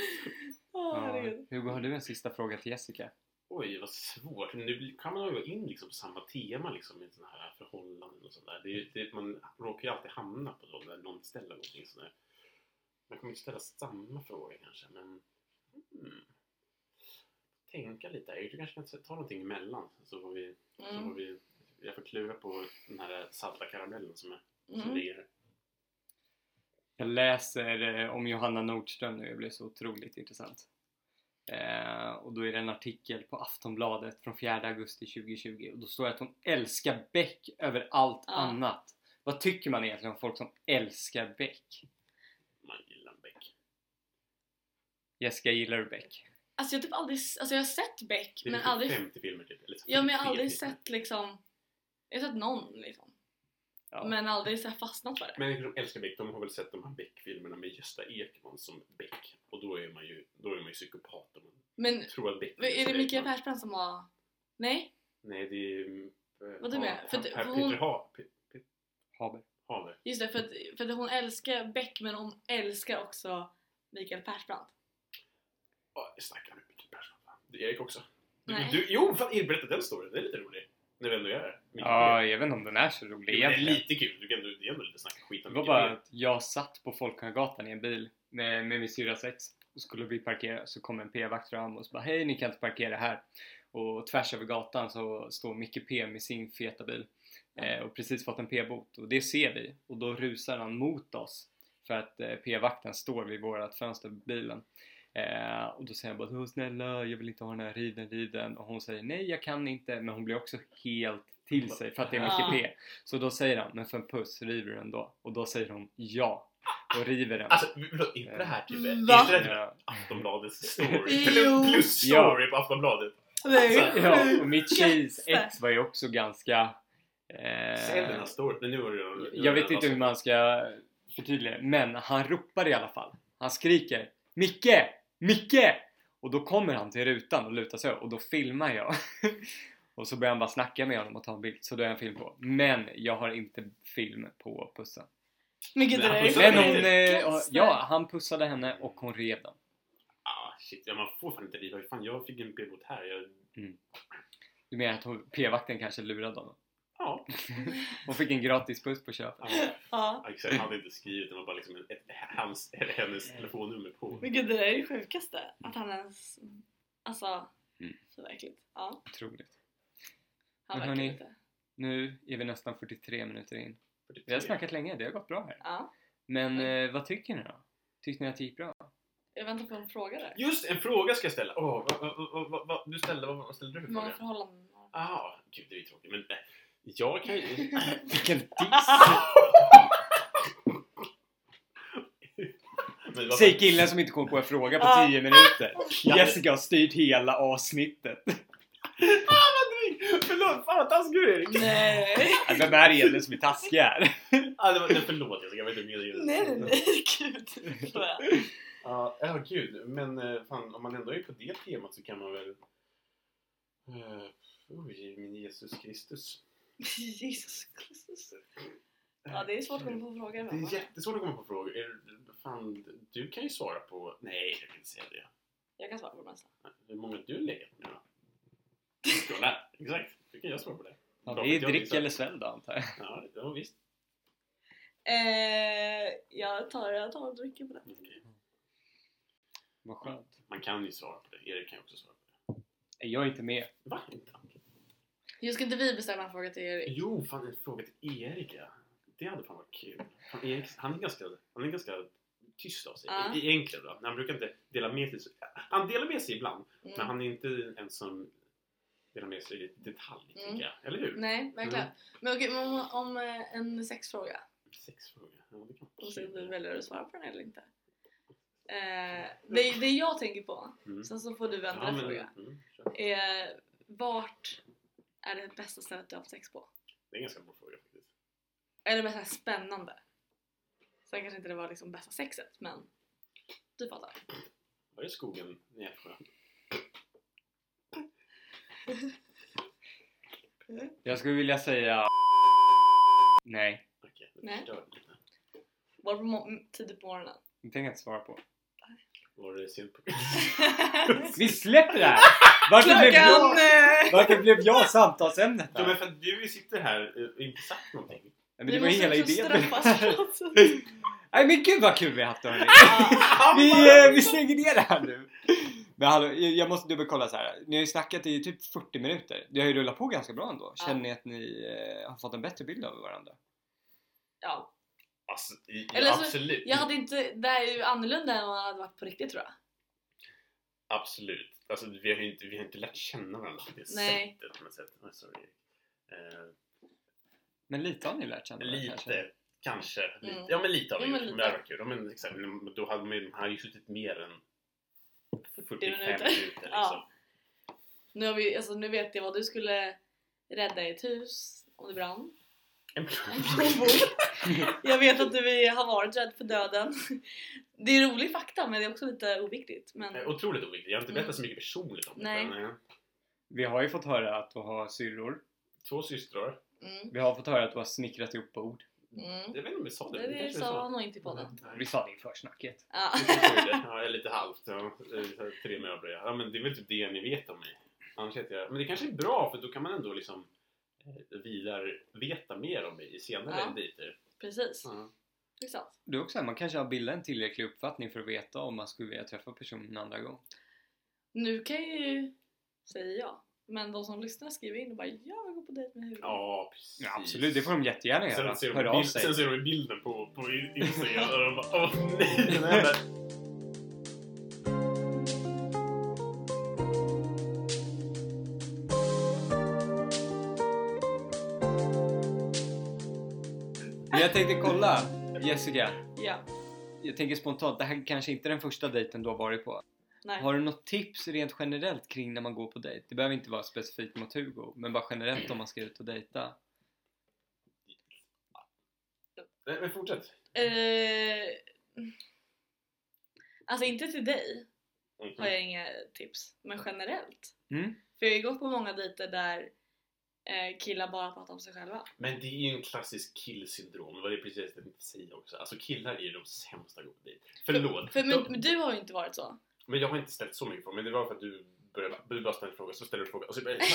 [SPEAKER 3] Ja.
[SPEAKER 2] herregud.
[SPEAKER 3] Hugo, har du en sista fråga till Jessica?
[SPEAKER 1] Oj, vad svårt. Men Nu kan man ju gå in liksom på samma tema liksom, i sådana här förhållanden och sånt där. Det är, ju- det, man råkar ju alltid hamna på dem när någon ställer någonting sånt där. Man kommer inte ställa samma fråga kanske, men... Mm. Tänka lite. här. Jag kanske kan ta någonting emellan så får vi... Så får
[SPEAKER 2] Mm.
[SPEAKER 1] vi jag får klura på den här salta karamellen som, är, som
[SPEAKER 2] Mm.
[SPEAKER 1] ligger här.
[SPEAKER 3] Jag läser eh, om Johanna Nordström nu, det blir så otroligt intressant. Eh, och då är det en artikel på Aftonbladet från 4 augusti 2020 och då står det att hon älskar Beck över allt
[SPEAKER 2] Ja.
[SPEAKER 3] annat. Vad tycker man egentligen om folk som älskar Beck?
[SPEAKER 1] Man gillar en bäck.
[SPEAKER 3] Jessica, gillar du Beck?
[SPEAKER 2] Alltså jag har typ aldrig, s- alltså jag har sett Beck
[SPEAKER 1] Det är
[SPEAKER 2] men
[SPEAKER 1] typ
[SPEAKER 2] aldrig...
[SPEAKER 1] 50 filmer typ. Eller så
[SPEAKER 2] Ja men jag har
[SPEAKER 1] 43
[SPEAKER 2] aldrig
[SPEAKER 1] filmer.
[SPEAKER 2] sett liksom... Jag har sett någon liksom.
[SPEAKER 3] Ja.
[SPEAKER 2] Men aldrig så här fastnat för det.
[SPEAKER 1] Människor som älskar Beck, de har väl sett de här Beck-filmerna med Gösta Ekman som Beck. Och då är man ju, då är man ju psykopat om man
[SPEAKER 2] Men
[SPEAKER 1] tror att Beck
[SPEAKER 2] men är
[SPEAKER 1] Gösta
[SPEAKER 2] det Mikael
[SPEAKER 1] Ekman.
[SPEAKER 2] Persbrandt som har... Nej?
[SPEAKER 1] Nej, det är... mm, eh,
[SPEAKER 2] Vad du menar?
[SPEAKER 1] ja,
[SPEAKER 2] För
[SPEAKER 1] Per-
[SPEAKER 2] det-
[SPEAKER 1] Per-
[SPEAKER 2] för
[SPEAKER 1] Peter
[SPEAKER 2] hon-
[SPEAKER 1] Ha- Pe-
[SPEAKER 3] Haber.
[SPEAKER 1] Haber.
[SPEAKER 2] Just det, för att, för att hon älskar Beck men hon älskar också Mikael Persbrandt.
[SPEAKER 1] Ja, jag snackar med Mikael Persson. Det är Erik också. Du,
[SPEAKER 2] Nej.
[SPEAKER 1] du, jo, fan, Erik, berätta den storyn. Den är lite rolig. När vi ändå är här. Mikael
[SPEAKER 3] Ja,
[SPEAKER 1] Persson.
[SPEAKER 3] jag vet inte om den är så rolig
[SPEAKER 1] det är
[SPEAKER 3] egentligen.
[SPEAKER 1] lite kul. Du kan ändå, det är ändå lite snacka skit
[SPEAKER 3] Det
[SPEAKER 1] om
[SPEAKER 3] var
[SPEAKER 1] Mikael
[SPEAKER 3] bara
[SPEAKER 1] Persson.
[SPEAKER 3] att jag satt på Folkungagatan i en bil med, med min syrras ex och skulle vi parkera så kom en p-vakt fram och så bara hej ni kan inte parkera här och tvärs över gatan så står Micke P med sin feta bil eh, och precis fått en p-bot och det ser vi och då rusar han mot oss för att eh, p-vakten står vid vårat fönster på bilen eh, och då säger han bara "Åh, snälla jag vill inte ha den här riden riden och hon säger nej jag kan inte men hon blir också helt till sig för att det är
[SPEAKER 2] Ja.
[SPEAKER 3] Micke P så då säger han men för en puss river du den då och då säger hon ja och river den
[SPEAKER 1] Alltså, förlåt, inte det här typ... Inte det
[SPEAKER 2] Va?
[SPEAKER 1] här typ
[SPEAKER 3] Ja.
[SPEAKER 1] Aftonbladets story.
[SPEAKER 2] Jo.
[SPEAKER 1] Plus, plus story på Aftonbladet.
[SPEAKER 2] Nej.
[SPEAKER 3] Alltså, Eh, Ja, och mitt tjejs
[SPEAKER 2] Jätte.
[SPEAKER 3] ex var ju också ganska...
[SPEAKER 1] Sälj den
[SPEAKER 3] Eh,
[SPEAKER 1] här
[SPEAKER 2] alltså?
[SPEAKER 1] storyn. Men nu var det redan- nu var
[SPEAKER 3] jag
[SPEAKER 1] det
[SPEAKER 3] vet
[SPEAKER 1] redan
[SPEAKER 3] inte hur man ska förtydliga det, men han ropar i alla fall. Han skriker Micke! Micke! Och då kommer han till rutan och lutar sig över, och då filmar jag. (laughs) och så börjar han bara snacka med honom och ta en bild, så då är jag en film på. Men jag har inte film på pussen.
[SPEAKER 2] Men gud det
[SPEAKER 1] Men
[SPEAKER 2] där
[SPEAKER 1] han-
[SPEAKER 2] är
[SPEAKER 3] Men alltså,
[SPEAKER 2] fan-
[SPEAKER 3] hon... Eh,
[SPEAKER 2] Vilken
[SPEAKER 3] ja, han pussade henne och hon rev den.
[SPEAKER 1] Ah shit, ja, man får fan inte riva. Fan, jag fick en p-bot här. Jag...
[SPEAKER 3] Du menar att hon- p-vakten kanske lurade honom?
[SPEAKER 1] Ja,
[SPEAKER 3] (laughs) Hon fick en gratis puss på köpet.
[SPEAKER 1] ja.
[SPEAKER 2] Ja.
[SPEAKER 1] Exakt, jag hade inte skrivit. Det var bara liksom ett, ett, hans, eller hennes telefonnummer
[SPEAKER 3] Mm.
[SPEAKER 1] på.
[SPEAKER 2] Men gud det där är det sjukaste. Att han ens... Alltså...
[SPEAKER 3] Mm.
[SPEAKER 2] Så verkligt. Ja.
[SPEAKER 3] Otroligt.
[SPEAKER 2] Han
[SPEAKER 3] Men
[SPEAKER 2] verkar
[SPEAKER 3] hörni-
[SPEAKER 2] lite...
[SPEAKER 3] Nu är vi nästan 43 minuter in. Vi har snackat länge, det har gått bra här.
[SPEAKER 2] Ja.
[SPEAKER 3] Men eh, vad tycker ni då? Tyckte ni att det gick bra?
[SPEAKER 2] Jag väntar på en fråga där.
[SPEAKER 1] Just en fråga ska jag ställa. Åh, vad, vad, vad, vad, vad, du ställde, vad, vad ställde du för
[SPEAKER 2] Hur många
[SPEAKER 1] fråga?
[SPEAKER 2] förhållanden har
[SPEAKER 1] Jaha, gud det är ju tråkigt. Men eh, jag kan
[SPEAKER 2] (laughs)
[SPEAKER 1] ju...
[SPEAKER 3] Vilken diss! (laughs)
[SPEAKER 1] Men vad-
[SPEAKER 3] Säg killen som inte kom på en fråga på
[SPEAKER 2] Ja.
[SPEAKER 3] 10 minuter.
[SPEAKER 1] Ja.
[SPEAKER 3] Jessica har styrt hela avsnittet.
[SPEAKER 1] Förlåt, fan vad taskig du är! Erik.
[SPEAKER 2] Nej!
[SPEAKER 3] Ja, Vem är det egentligen som är taskig här?
[SPEAKER 1] Ah, det var, nej, förlåt, jag vet inte mer.
[SPEAKER 2] Nej nej nej, gud. förstår jag.
[SPEAKER 1] Ja, ja gud. Men eh, fan, om man ändå är på det temat så kan man väl... Uh, oj, min Jesus Kristus.
[SPEAKER 2] (laughs) Jesus Kristus. Ja det är svårt att komma på frågor
[SPEAKER 1] Det är
[SPEAKER 2] ibland. va?
[SPEAKER 1] jättesvårt att komma på frågor. Är, det- fan, du kan ju svara på... Nej, jag kan inte säga det.
[SPEAKER 2] Jag kan svara på det mesta.
[SPEAKER 1] Hur många du lägger på nu då? Kolla, exakt. Du kan jag svara på det.
[SPEAKER 3] Ja,
[SPEAKER 1] Bra
[SPEAKER 3] det är
[SPEAKER 1] för att jag
[SPEAKER 3] drick
[SPEAKER 1] missar.
[SPEAKER 3] eller svälj då antar jag.
[SPEAKER 1] Ja, ja visst.
[SPEAKER 2] Eh, jag tar, jag tar och dricker på det.
[SPEAKER 1] Okej.
[SPEAKER 3] Vad skönt.
[SPEAKER 1] Man kan ju svara på det. Erik kan ju också svara på det.
[SPEAKER 3] Jag är inte med.
[SPEAKER 1] Va? Inte?
[SPEAKER 2] Just ska inte vi bestämma en fråga till Erik?
[SPEAKER 1] Jo, fan en fråga till Erik ja. Det hade fan varit kul. Han är, han är, ganska, han är ganska tyst av sig.
[SPEAKER 2] Ja.
[SPEAKER 1] Uh. Egentligen då. Han brukar inte dela med sig. så- Han delar med sig ibland. Men
[SPEAKER 2] Mm.
[SPEAKER 1] han är inte en som delar med sig i detalj,
[SPEAKER 2] Mm.
[SPEAKER 1] tänker jag. Eller hur?
[SPEAKER 2] Nej, verkligen.
[SPEAKER 1] Mm.
[SPEAKER 2] Men okej, men om, om eh, en sexfråga.
[SPEAKER 1] Sexfråga. Ja, det kan
[SPEAKER 2] Och se
[SPEAKER 1] vara
[SPEAKER 2] om
[SPEAKER 3] Mm.
[SPEAKER 2] du
[SPEAKER 1] kul.
[SPEAKER 2] väljer att svara på den eller inte. Eh, det, det jag tänker på,
[SPEAKER 1] Mm.
[SPEAKER 2] sen så får du en
[SPEAKER 1] Ja,
[SPEAKER 2] annan
[SPEAKER 1] men-
[SPEAKER 2] fråga.
[SPEAKER 1] mm, kör.
[SPEAKER 2] Är, vart är det bästa stället du har haft sex på?
[SPEAKER 1] Det är en ganska bra fråga faktiskt.
[SPEAKER 2] Eller mest så här spännande. Sen kanske inte det var liksom bästa sexet, men du fattar.
[SPEAKER 1] Var är skogen i Älvsjö?
[SPEAKER 3] Jag skulle vilja säga... Nej,
[SPEAKER 1] Okej, det
[SPEAKER 2] Nej.
[SPEAKER 1] förstörde lite.
[SPEAKER 2] Var på mo- tidigt på
[SPEAKER 3] (laughs)
[SPEAKER 2] morgonen.
[SPEAKER 3] det tänker jag inte svara på.
[SPEAKER 1] Var det sent på
[SPEAKER 3] Vi släpper det här! Varför blev
[SPEAKER 2] Klockan...
[SPEAKER 3] jag,
[SPEAKER 2] eh,
[SPEAKER 3] varför blev jag samtalsämnet
[SPEAKER 1] Ja men
[SPEAKER 3] här?
[SPEAKER 1] för att du sitter här eh, och inte sagt någonting.
[SPEAKER 3] Men
[SPEAKER 2] vi
[SPEAKER 3] det var ju
[SPEAKER 2] måste
[SPEAKER 3] hela
[SPEAKER 2] också
[SPEAKER 3] idén.
[SPEAKER 2] straffas för något.
[SPEAKER 3] (laughs) Nej men gud vad kul vi har haft hörni!
[SPEAKER 2] Ja.
[SPEAKER 3] Vi, eh, vi stänger ner det här nu! Men hallå, jag jag måste dubbelkolla så här. Ni har ju snackat i typ 40 minuter. Det har ju rullat på ganska bra ändå.
[SPEAKER 2] Ja.
[SPEAKER 3] Känner ni att ni eh, har fått en bättre bild av varandra?
[SPEAKER 2] ja,
[SPEAKER 1] Alltså, i, i,
[SPEAKER 2] Eller så-
[SPEAKER 1] absolut.
[SPEAKER 2] Jag hade inte, det här är ju annorlunda än vad det hade varit på riktigt tror jag.
[SPEAKER 1] Absolut. Alltså, vi, har ju inte, vi har inte lärt känna varandra på det
[SPEAKER 2] Nej.
[SPEAKER 1] sättet. På något sätt. Oh, sorry. Eh,
[SPEAKER 3] Men lite har ni lärt känna varandra, kanske?
[SPEAKER 1] lite, kanske. Lite.
[SPEAKER 2] Mm.
[SPEAKER 1] Ja men lite har vi
[SPEAKER 2] Jo, men
[SPEAKER 1] gjort. Men
[SPEAKER 2] lite.
[SPEAKER 1] det var kul. Ja, men exakt. Men Då hade man, han hade ju suttit mer än 45
[SPEAKER 2] minuter.
[SPEAKER 1] minuter. liksom.
[SPEAKER 2] Ja. Nu, har vi, alltså, nu vet jag vad du skulle rädda i ett hus om
[SPEAKER 1] (laughs)
[SPEAKER 2] det brann.
[SPEAKER 1] En
[SPEAKER 2] En plånbok. jag vet att du är- har varit rädd för döden. Det är rolig fakta men det är också lite oviktigt. Men
[SPEAKER 1] Eh, Otroligt oviktigt. Jag har inte
[SPEAKER 2] Mm.
[SPEAKER 1] berättat så mycket personligt om
[SPEAKER 2] Nej.
[SPEAKER 1] det. men, eh,
[SPEAKER 3] Vi har ju fått höra att du har syrror.
[SPEAKER 1] Två systrar.
[SPEAKER 2] mm,
[SPEAKER 3] Vi har fått höra att du har snickrat ihop bord.
[SPEAKER 2] mm.
[SPEAKER 1] Jag vet inte om vi sa det.
[SPEAKER 2] det,
[SPEAKER 1] Vi
[SPEAKER 2] det
[SPEAKER 1] kanske Mm.
[SPEAKER 2] sa han nog inte i podden.
[SPEAKER 1] Nej.
[SPEAKER 3] Vi sa det i försnacket.
[SPEAKER 2] Ja. (laughs)
[SPEAKER 1] Ja, lite halvt. Ja. Eh, Tre möbler, ja. ja. Men det är väl typ det ni vet om mig. Annars heter jag... Men det kanske är bra för då kan man ändå liksom eh, vidare veta mer om mig i senare
[SPEAKER 2] Ja.
[SPEAKER 1] dejter.
[SPEAKER 2] Precis.
[SPEAKER 1] Ja.
[SPEAKER 2] Det är sant.
[SPEAKER 3] Du också, man kanske har bildat en tillräcklig uppfattning för att veta om man skulle vilja träffa personen en andra gång.
[SPEAKER 2] Nu kan ju säga ja. Men de som lyssnar skriver in och bara jag vill gå på dejt med huvudet.
[SPEAKER 1] ja, precis.
[SPEAKER 3] Ja, absolut, det får de jättegärna göra.
[SPEAKER 1] Sen ser,
[SPEAKER 3] Hör
[SPEAKER 1] de
[SPEAKER 3] av
[SPEAKER 1] bild,
[SPEAKER 3] sig.
[SPEAKER 1] sen ser de bilden på,
[SPEAKER 3] (laughs)
[SPEAKER 1] på Instagram och de bara åh nej! den här-
[SPEAKER 3] Men jag tänkte kolla, Jessica.
[SPEAKER 2] Ja.
[SPEAKER 3] Jag tänker spontant, det här kanske inte är den första dejten du har varit på.
[SPEAKER 2] Nej.
[SPEAKER 3] Har du något tips rent generellt kring när man går på dejt? Det behöver inte vara specifikt mot Hugo, men bara generellt om man ska ut och dejta.
[SPEAKER 1] Nej, men fortsätt.
[SPEAKER 2] Eh, alltså inte till dig
[SPEAKER 1] Mhm.
[SPEAKER 2] har jag inga tips, men generellt.
[SPEAKER 3] Mm.
[SPEAKER 2] För jag har ju gått på många dejter där eh, killar bara pratar om sig själva.
[SPEAKER 1] Men det är ju en klassisk killsyndrom. Det var det precis det jag tänkte säga också. Alltså killar är ju de sämsta att gå på dejt. Förlåt.
[SPEAKER 2] För, men,
[SPEAKER 1] De-
[SPEAKER 2] men du har ju inte varit så.
[SPEAKER 1] Men jag har inte ställt så mycket frågor, men det var för att du började, du bara ställde en fråga, så ställde du en fråga och så började jag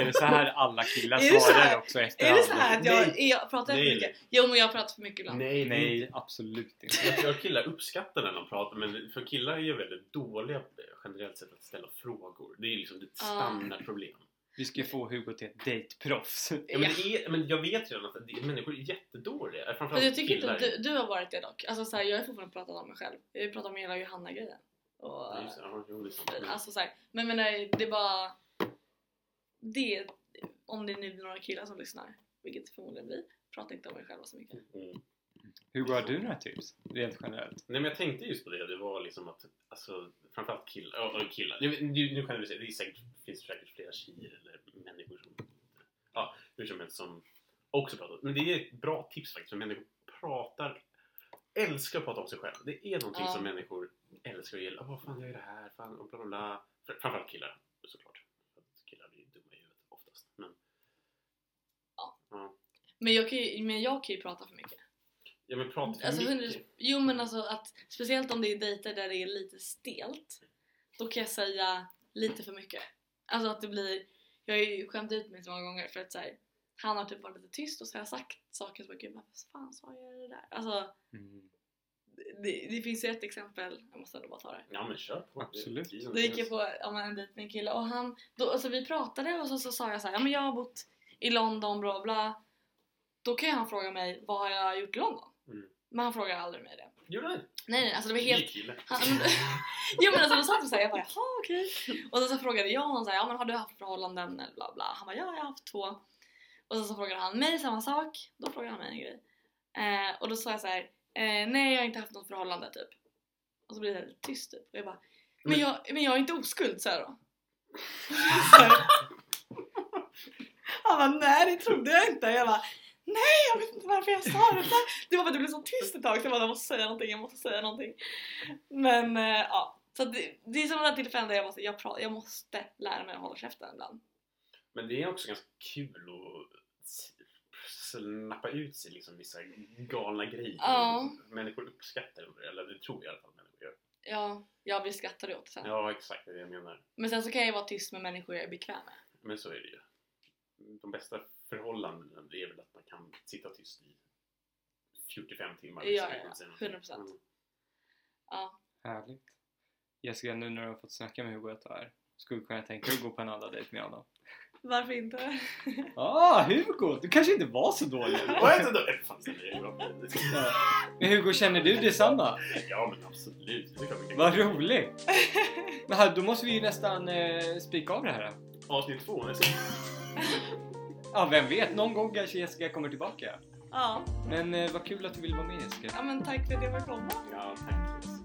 [SPEAKER 3] Är det så här alla killar
[SPEAKER 2] Är det så här?
[SPEAKER 3] svarar också
[SPEAKER 2] Är
[SPEAKER 3] efterhand?
[SPEAKER 2] det så här att jag, är jag pratar
[SPEAKER 1] Nej.
[SPEAKER 2] för mycket? Jo men jag pratar för mycket ibland.
[SPEAKER 1] Nej,
[SPEAKER 3] Nej, absolut inte.
[SPEAKER 1] Jag tror att killar uppskattar när de pratar, men för killar är ju väldigt dåliga eh, generellt sett att ställa frågor. Det är ju liksom ett
[SPEAKER 2] Ja.
[SPEAKER 1] standardproblem.
[SPEAKER 3] Vi ska få Hugo till ett dejtproffs.
[SPEAKER 1] Ja, men,
[SPEAKER 2] Ja.
[SPEAKER 1] det är, men jag vet redan att det, människor är jättedåliga.
[SPEAKER 2] Men
[SPEAKER 1] Framförallt
[SPEAKER 2] jag tycker inte
[SPEAKER 1] killar.
[SPEAKER 2] att du, du har varit det dock. Alltså så här, jag har fortfarande pratat om mig själv. Jag har ju pratat om hela Johanna-grejen. Och,
[SPEAKER 1] Ja, just det. Ja, jo, det är sant. Men-
[SPEAKER 2] Alltså så här, men jag menar det är bara det om det nu är några killar som lyssnar, vilket det förmodligen blir, prata inte om er själva så mycket.
[SPEAKER 1] Mm.
[SPEAKER 3] Hugo, har du några tips? Rent generellt?
[SPEAKER 1] Nej men jag tänkte just på det, det var liksom att alltså, framförallt killar, ja, och killar. Nu, nu, nu kan du säga, det är säkert, finns säkert flera tjejer eller människor som, ja hur som helst som också pratar. Men det är ett bra tips faktiskt, för människor pratar, älskar att prata om sig själva. Det är någonting
[SPEAKER 2] Ja.
[SPEAKER 1] som människor älskar och gillar. Åh fan jag gör det här, fan och bla bla bla. Fr- Framförallt killar såklart. För att killar blir ju dumma i huvudet oftast. Men,
[SPEAKER 2] Men jag kan ju, men jag kan ju prata för mycket.
[SPEAKER 1] ja men prata för
[SPEAKER 2] Alltså, hundra-
[SPEAKER 1] mycket.
[SPEAKER 2] jo men alltså att speciellt om det är dejter där det är lite stelt, då kan jag säga lite för mycket. Alltså att det blir, jag har ju skämt ut mig så många gånger för att så här, han har typ varit lite tyst och så har jag sagt saker som jag gud varför fan sa jag det där? Alltså
[SPEAKER 3] Mm.
[SPEAKER 2] det, det finns ju ett exempel, jag måste ändå bara ta det.
[SPEAKER 1] Ja men kör på.
[SPEAKER 3] Absolut.
[SPEAKER 1] Det är-
[SPEAKER 2] Då gick jag på ja, men en dejt med en kille och han, då, alltså vi pratade och så, så sa jag så här, ja men jag har bott i London bla bla Då kan ju han fråga mig vad har jag gjort i London?
[SPEAKER 1] Mm.
[SPEAKER 2] Men han frågar aldrig mig det.
[SPEAKER 1] Gjorde han?
[SPEAKER 2] Nej nej, alltså det var helt
[SPEAKER 1] Ny kille.
[SPEAKER 2] Han, men, jo men alltså då satt vi såhär, jag bara jaha okej. Och sen så frågade jag honom såhär, ja men har du haft förhållanden eller bla bla. Han bara ja jag har haft två. Och sen så frågade han mig samma sak. Då frågade han mig en grej. Eh, och då sa jag såhär, eh, nej jag har inte haft något förhållande typ. Och så blev det lite tyst typ. Och jag bara, men
[SPEAKER 1] Men-
[SPEAKER 2] jag, men jag är inte oskuld sa jag då. (laughs) Han bara nej det trodde jag inte. Jag bara nej jag vet inte varför jag sa det där. Det var för att det blev så tyst ett tag så jag bara jag måste säga någonting, jag måste säga någonting. Men eh, ja. Så att det, det är sådana där tillfällen där jag, måste, jag, pra, jag måste lära mig att hålla käften ibland.
[SPEAKER 1] Men det är också ganska kul att s- snappa ut sig liksom vissa galna grejer.
[SPEAKER 2] Ja.
[SPEAKER 1] Människor uppskattar det, eller det tror jag i alla fall människor gör.
[SPEAKER 2] Ja, jag blir skrattad åt det sen.
[SPEAKER 1] Ja, exakt det är det jag menar.
[SPEAKER 2] Men sen så kan jag ju vara tyst med människor jag är bekväm med.
[SPEAKER 1] Men så är det ju. De bästa förhållandena det är väl att man kan sitta tyst i 45 timmar.
[SPEAKER 2] Ja,
[SPEAKER 1] så
[SPEAKER 2] ja,
[SPEAKER 1] kan man säga någonting.
[SPEAKER 2] 100%. Ja.
[SPEAKER 3] Härligt. Jessica, nu när du har fått snacka med Hugo ett tag här, skulle du kunna tänka dig att gå på en andra dejt med honom?
[SPEAKER 2] Varför inte?
[SPEAKER 3] Ah, Hugo! Du kanske inte var så dålig.
[SPEAKER 1] Mm. Vad heter det? Fan, det är ju bra.
[SPEAKER 3] Ja. (laughs) Men Hugo, känner du detsamma?
[SPEAKER 1] Ja, men absolut. Det är klart vi kan-
[SPEAKER 3] Vad (laughs) roligt! Men här, då måste vi ju nästan eh, spika av det här. då.
[SPEAKER 1] Avsnitt två nästa
[SPEAKER 3] Ja, vem vet? Någon gång kanske Jessica kommer tillbaka.
[SPEAKER 2] Ja.
[SPEAKER 3] Men eh, vad kul att du ville vara med Jessica.
[SPEAKER 2] ja men tack för att jag fick komma.
[SPEAKER 1] Ja, tack.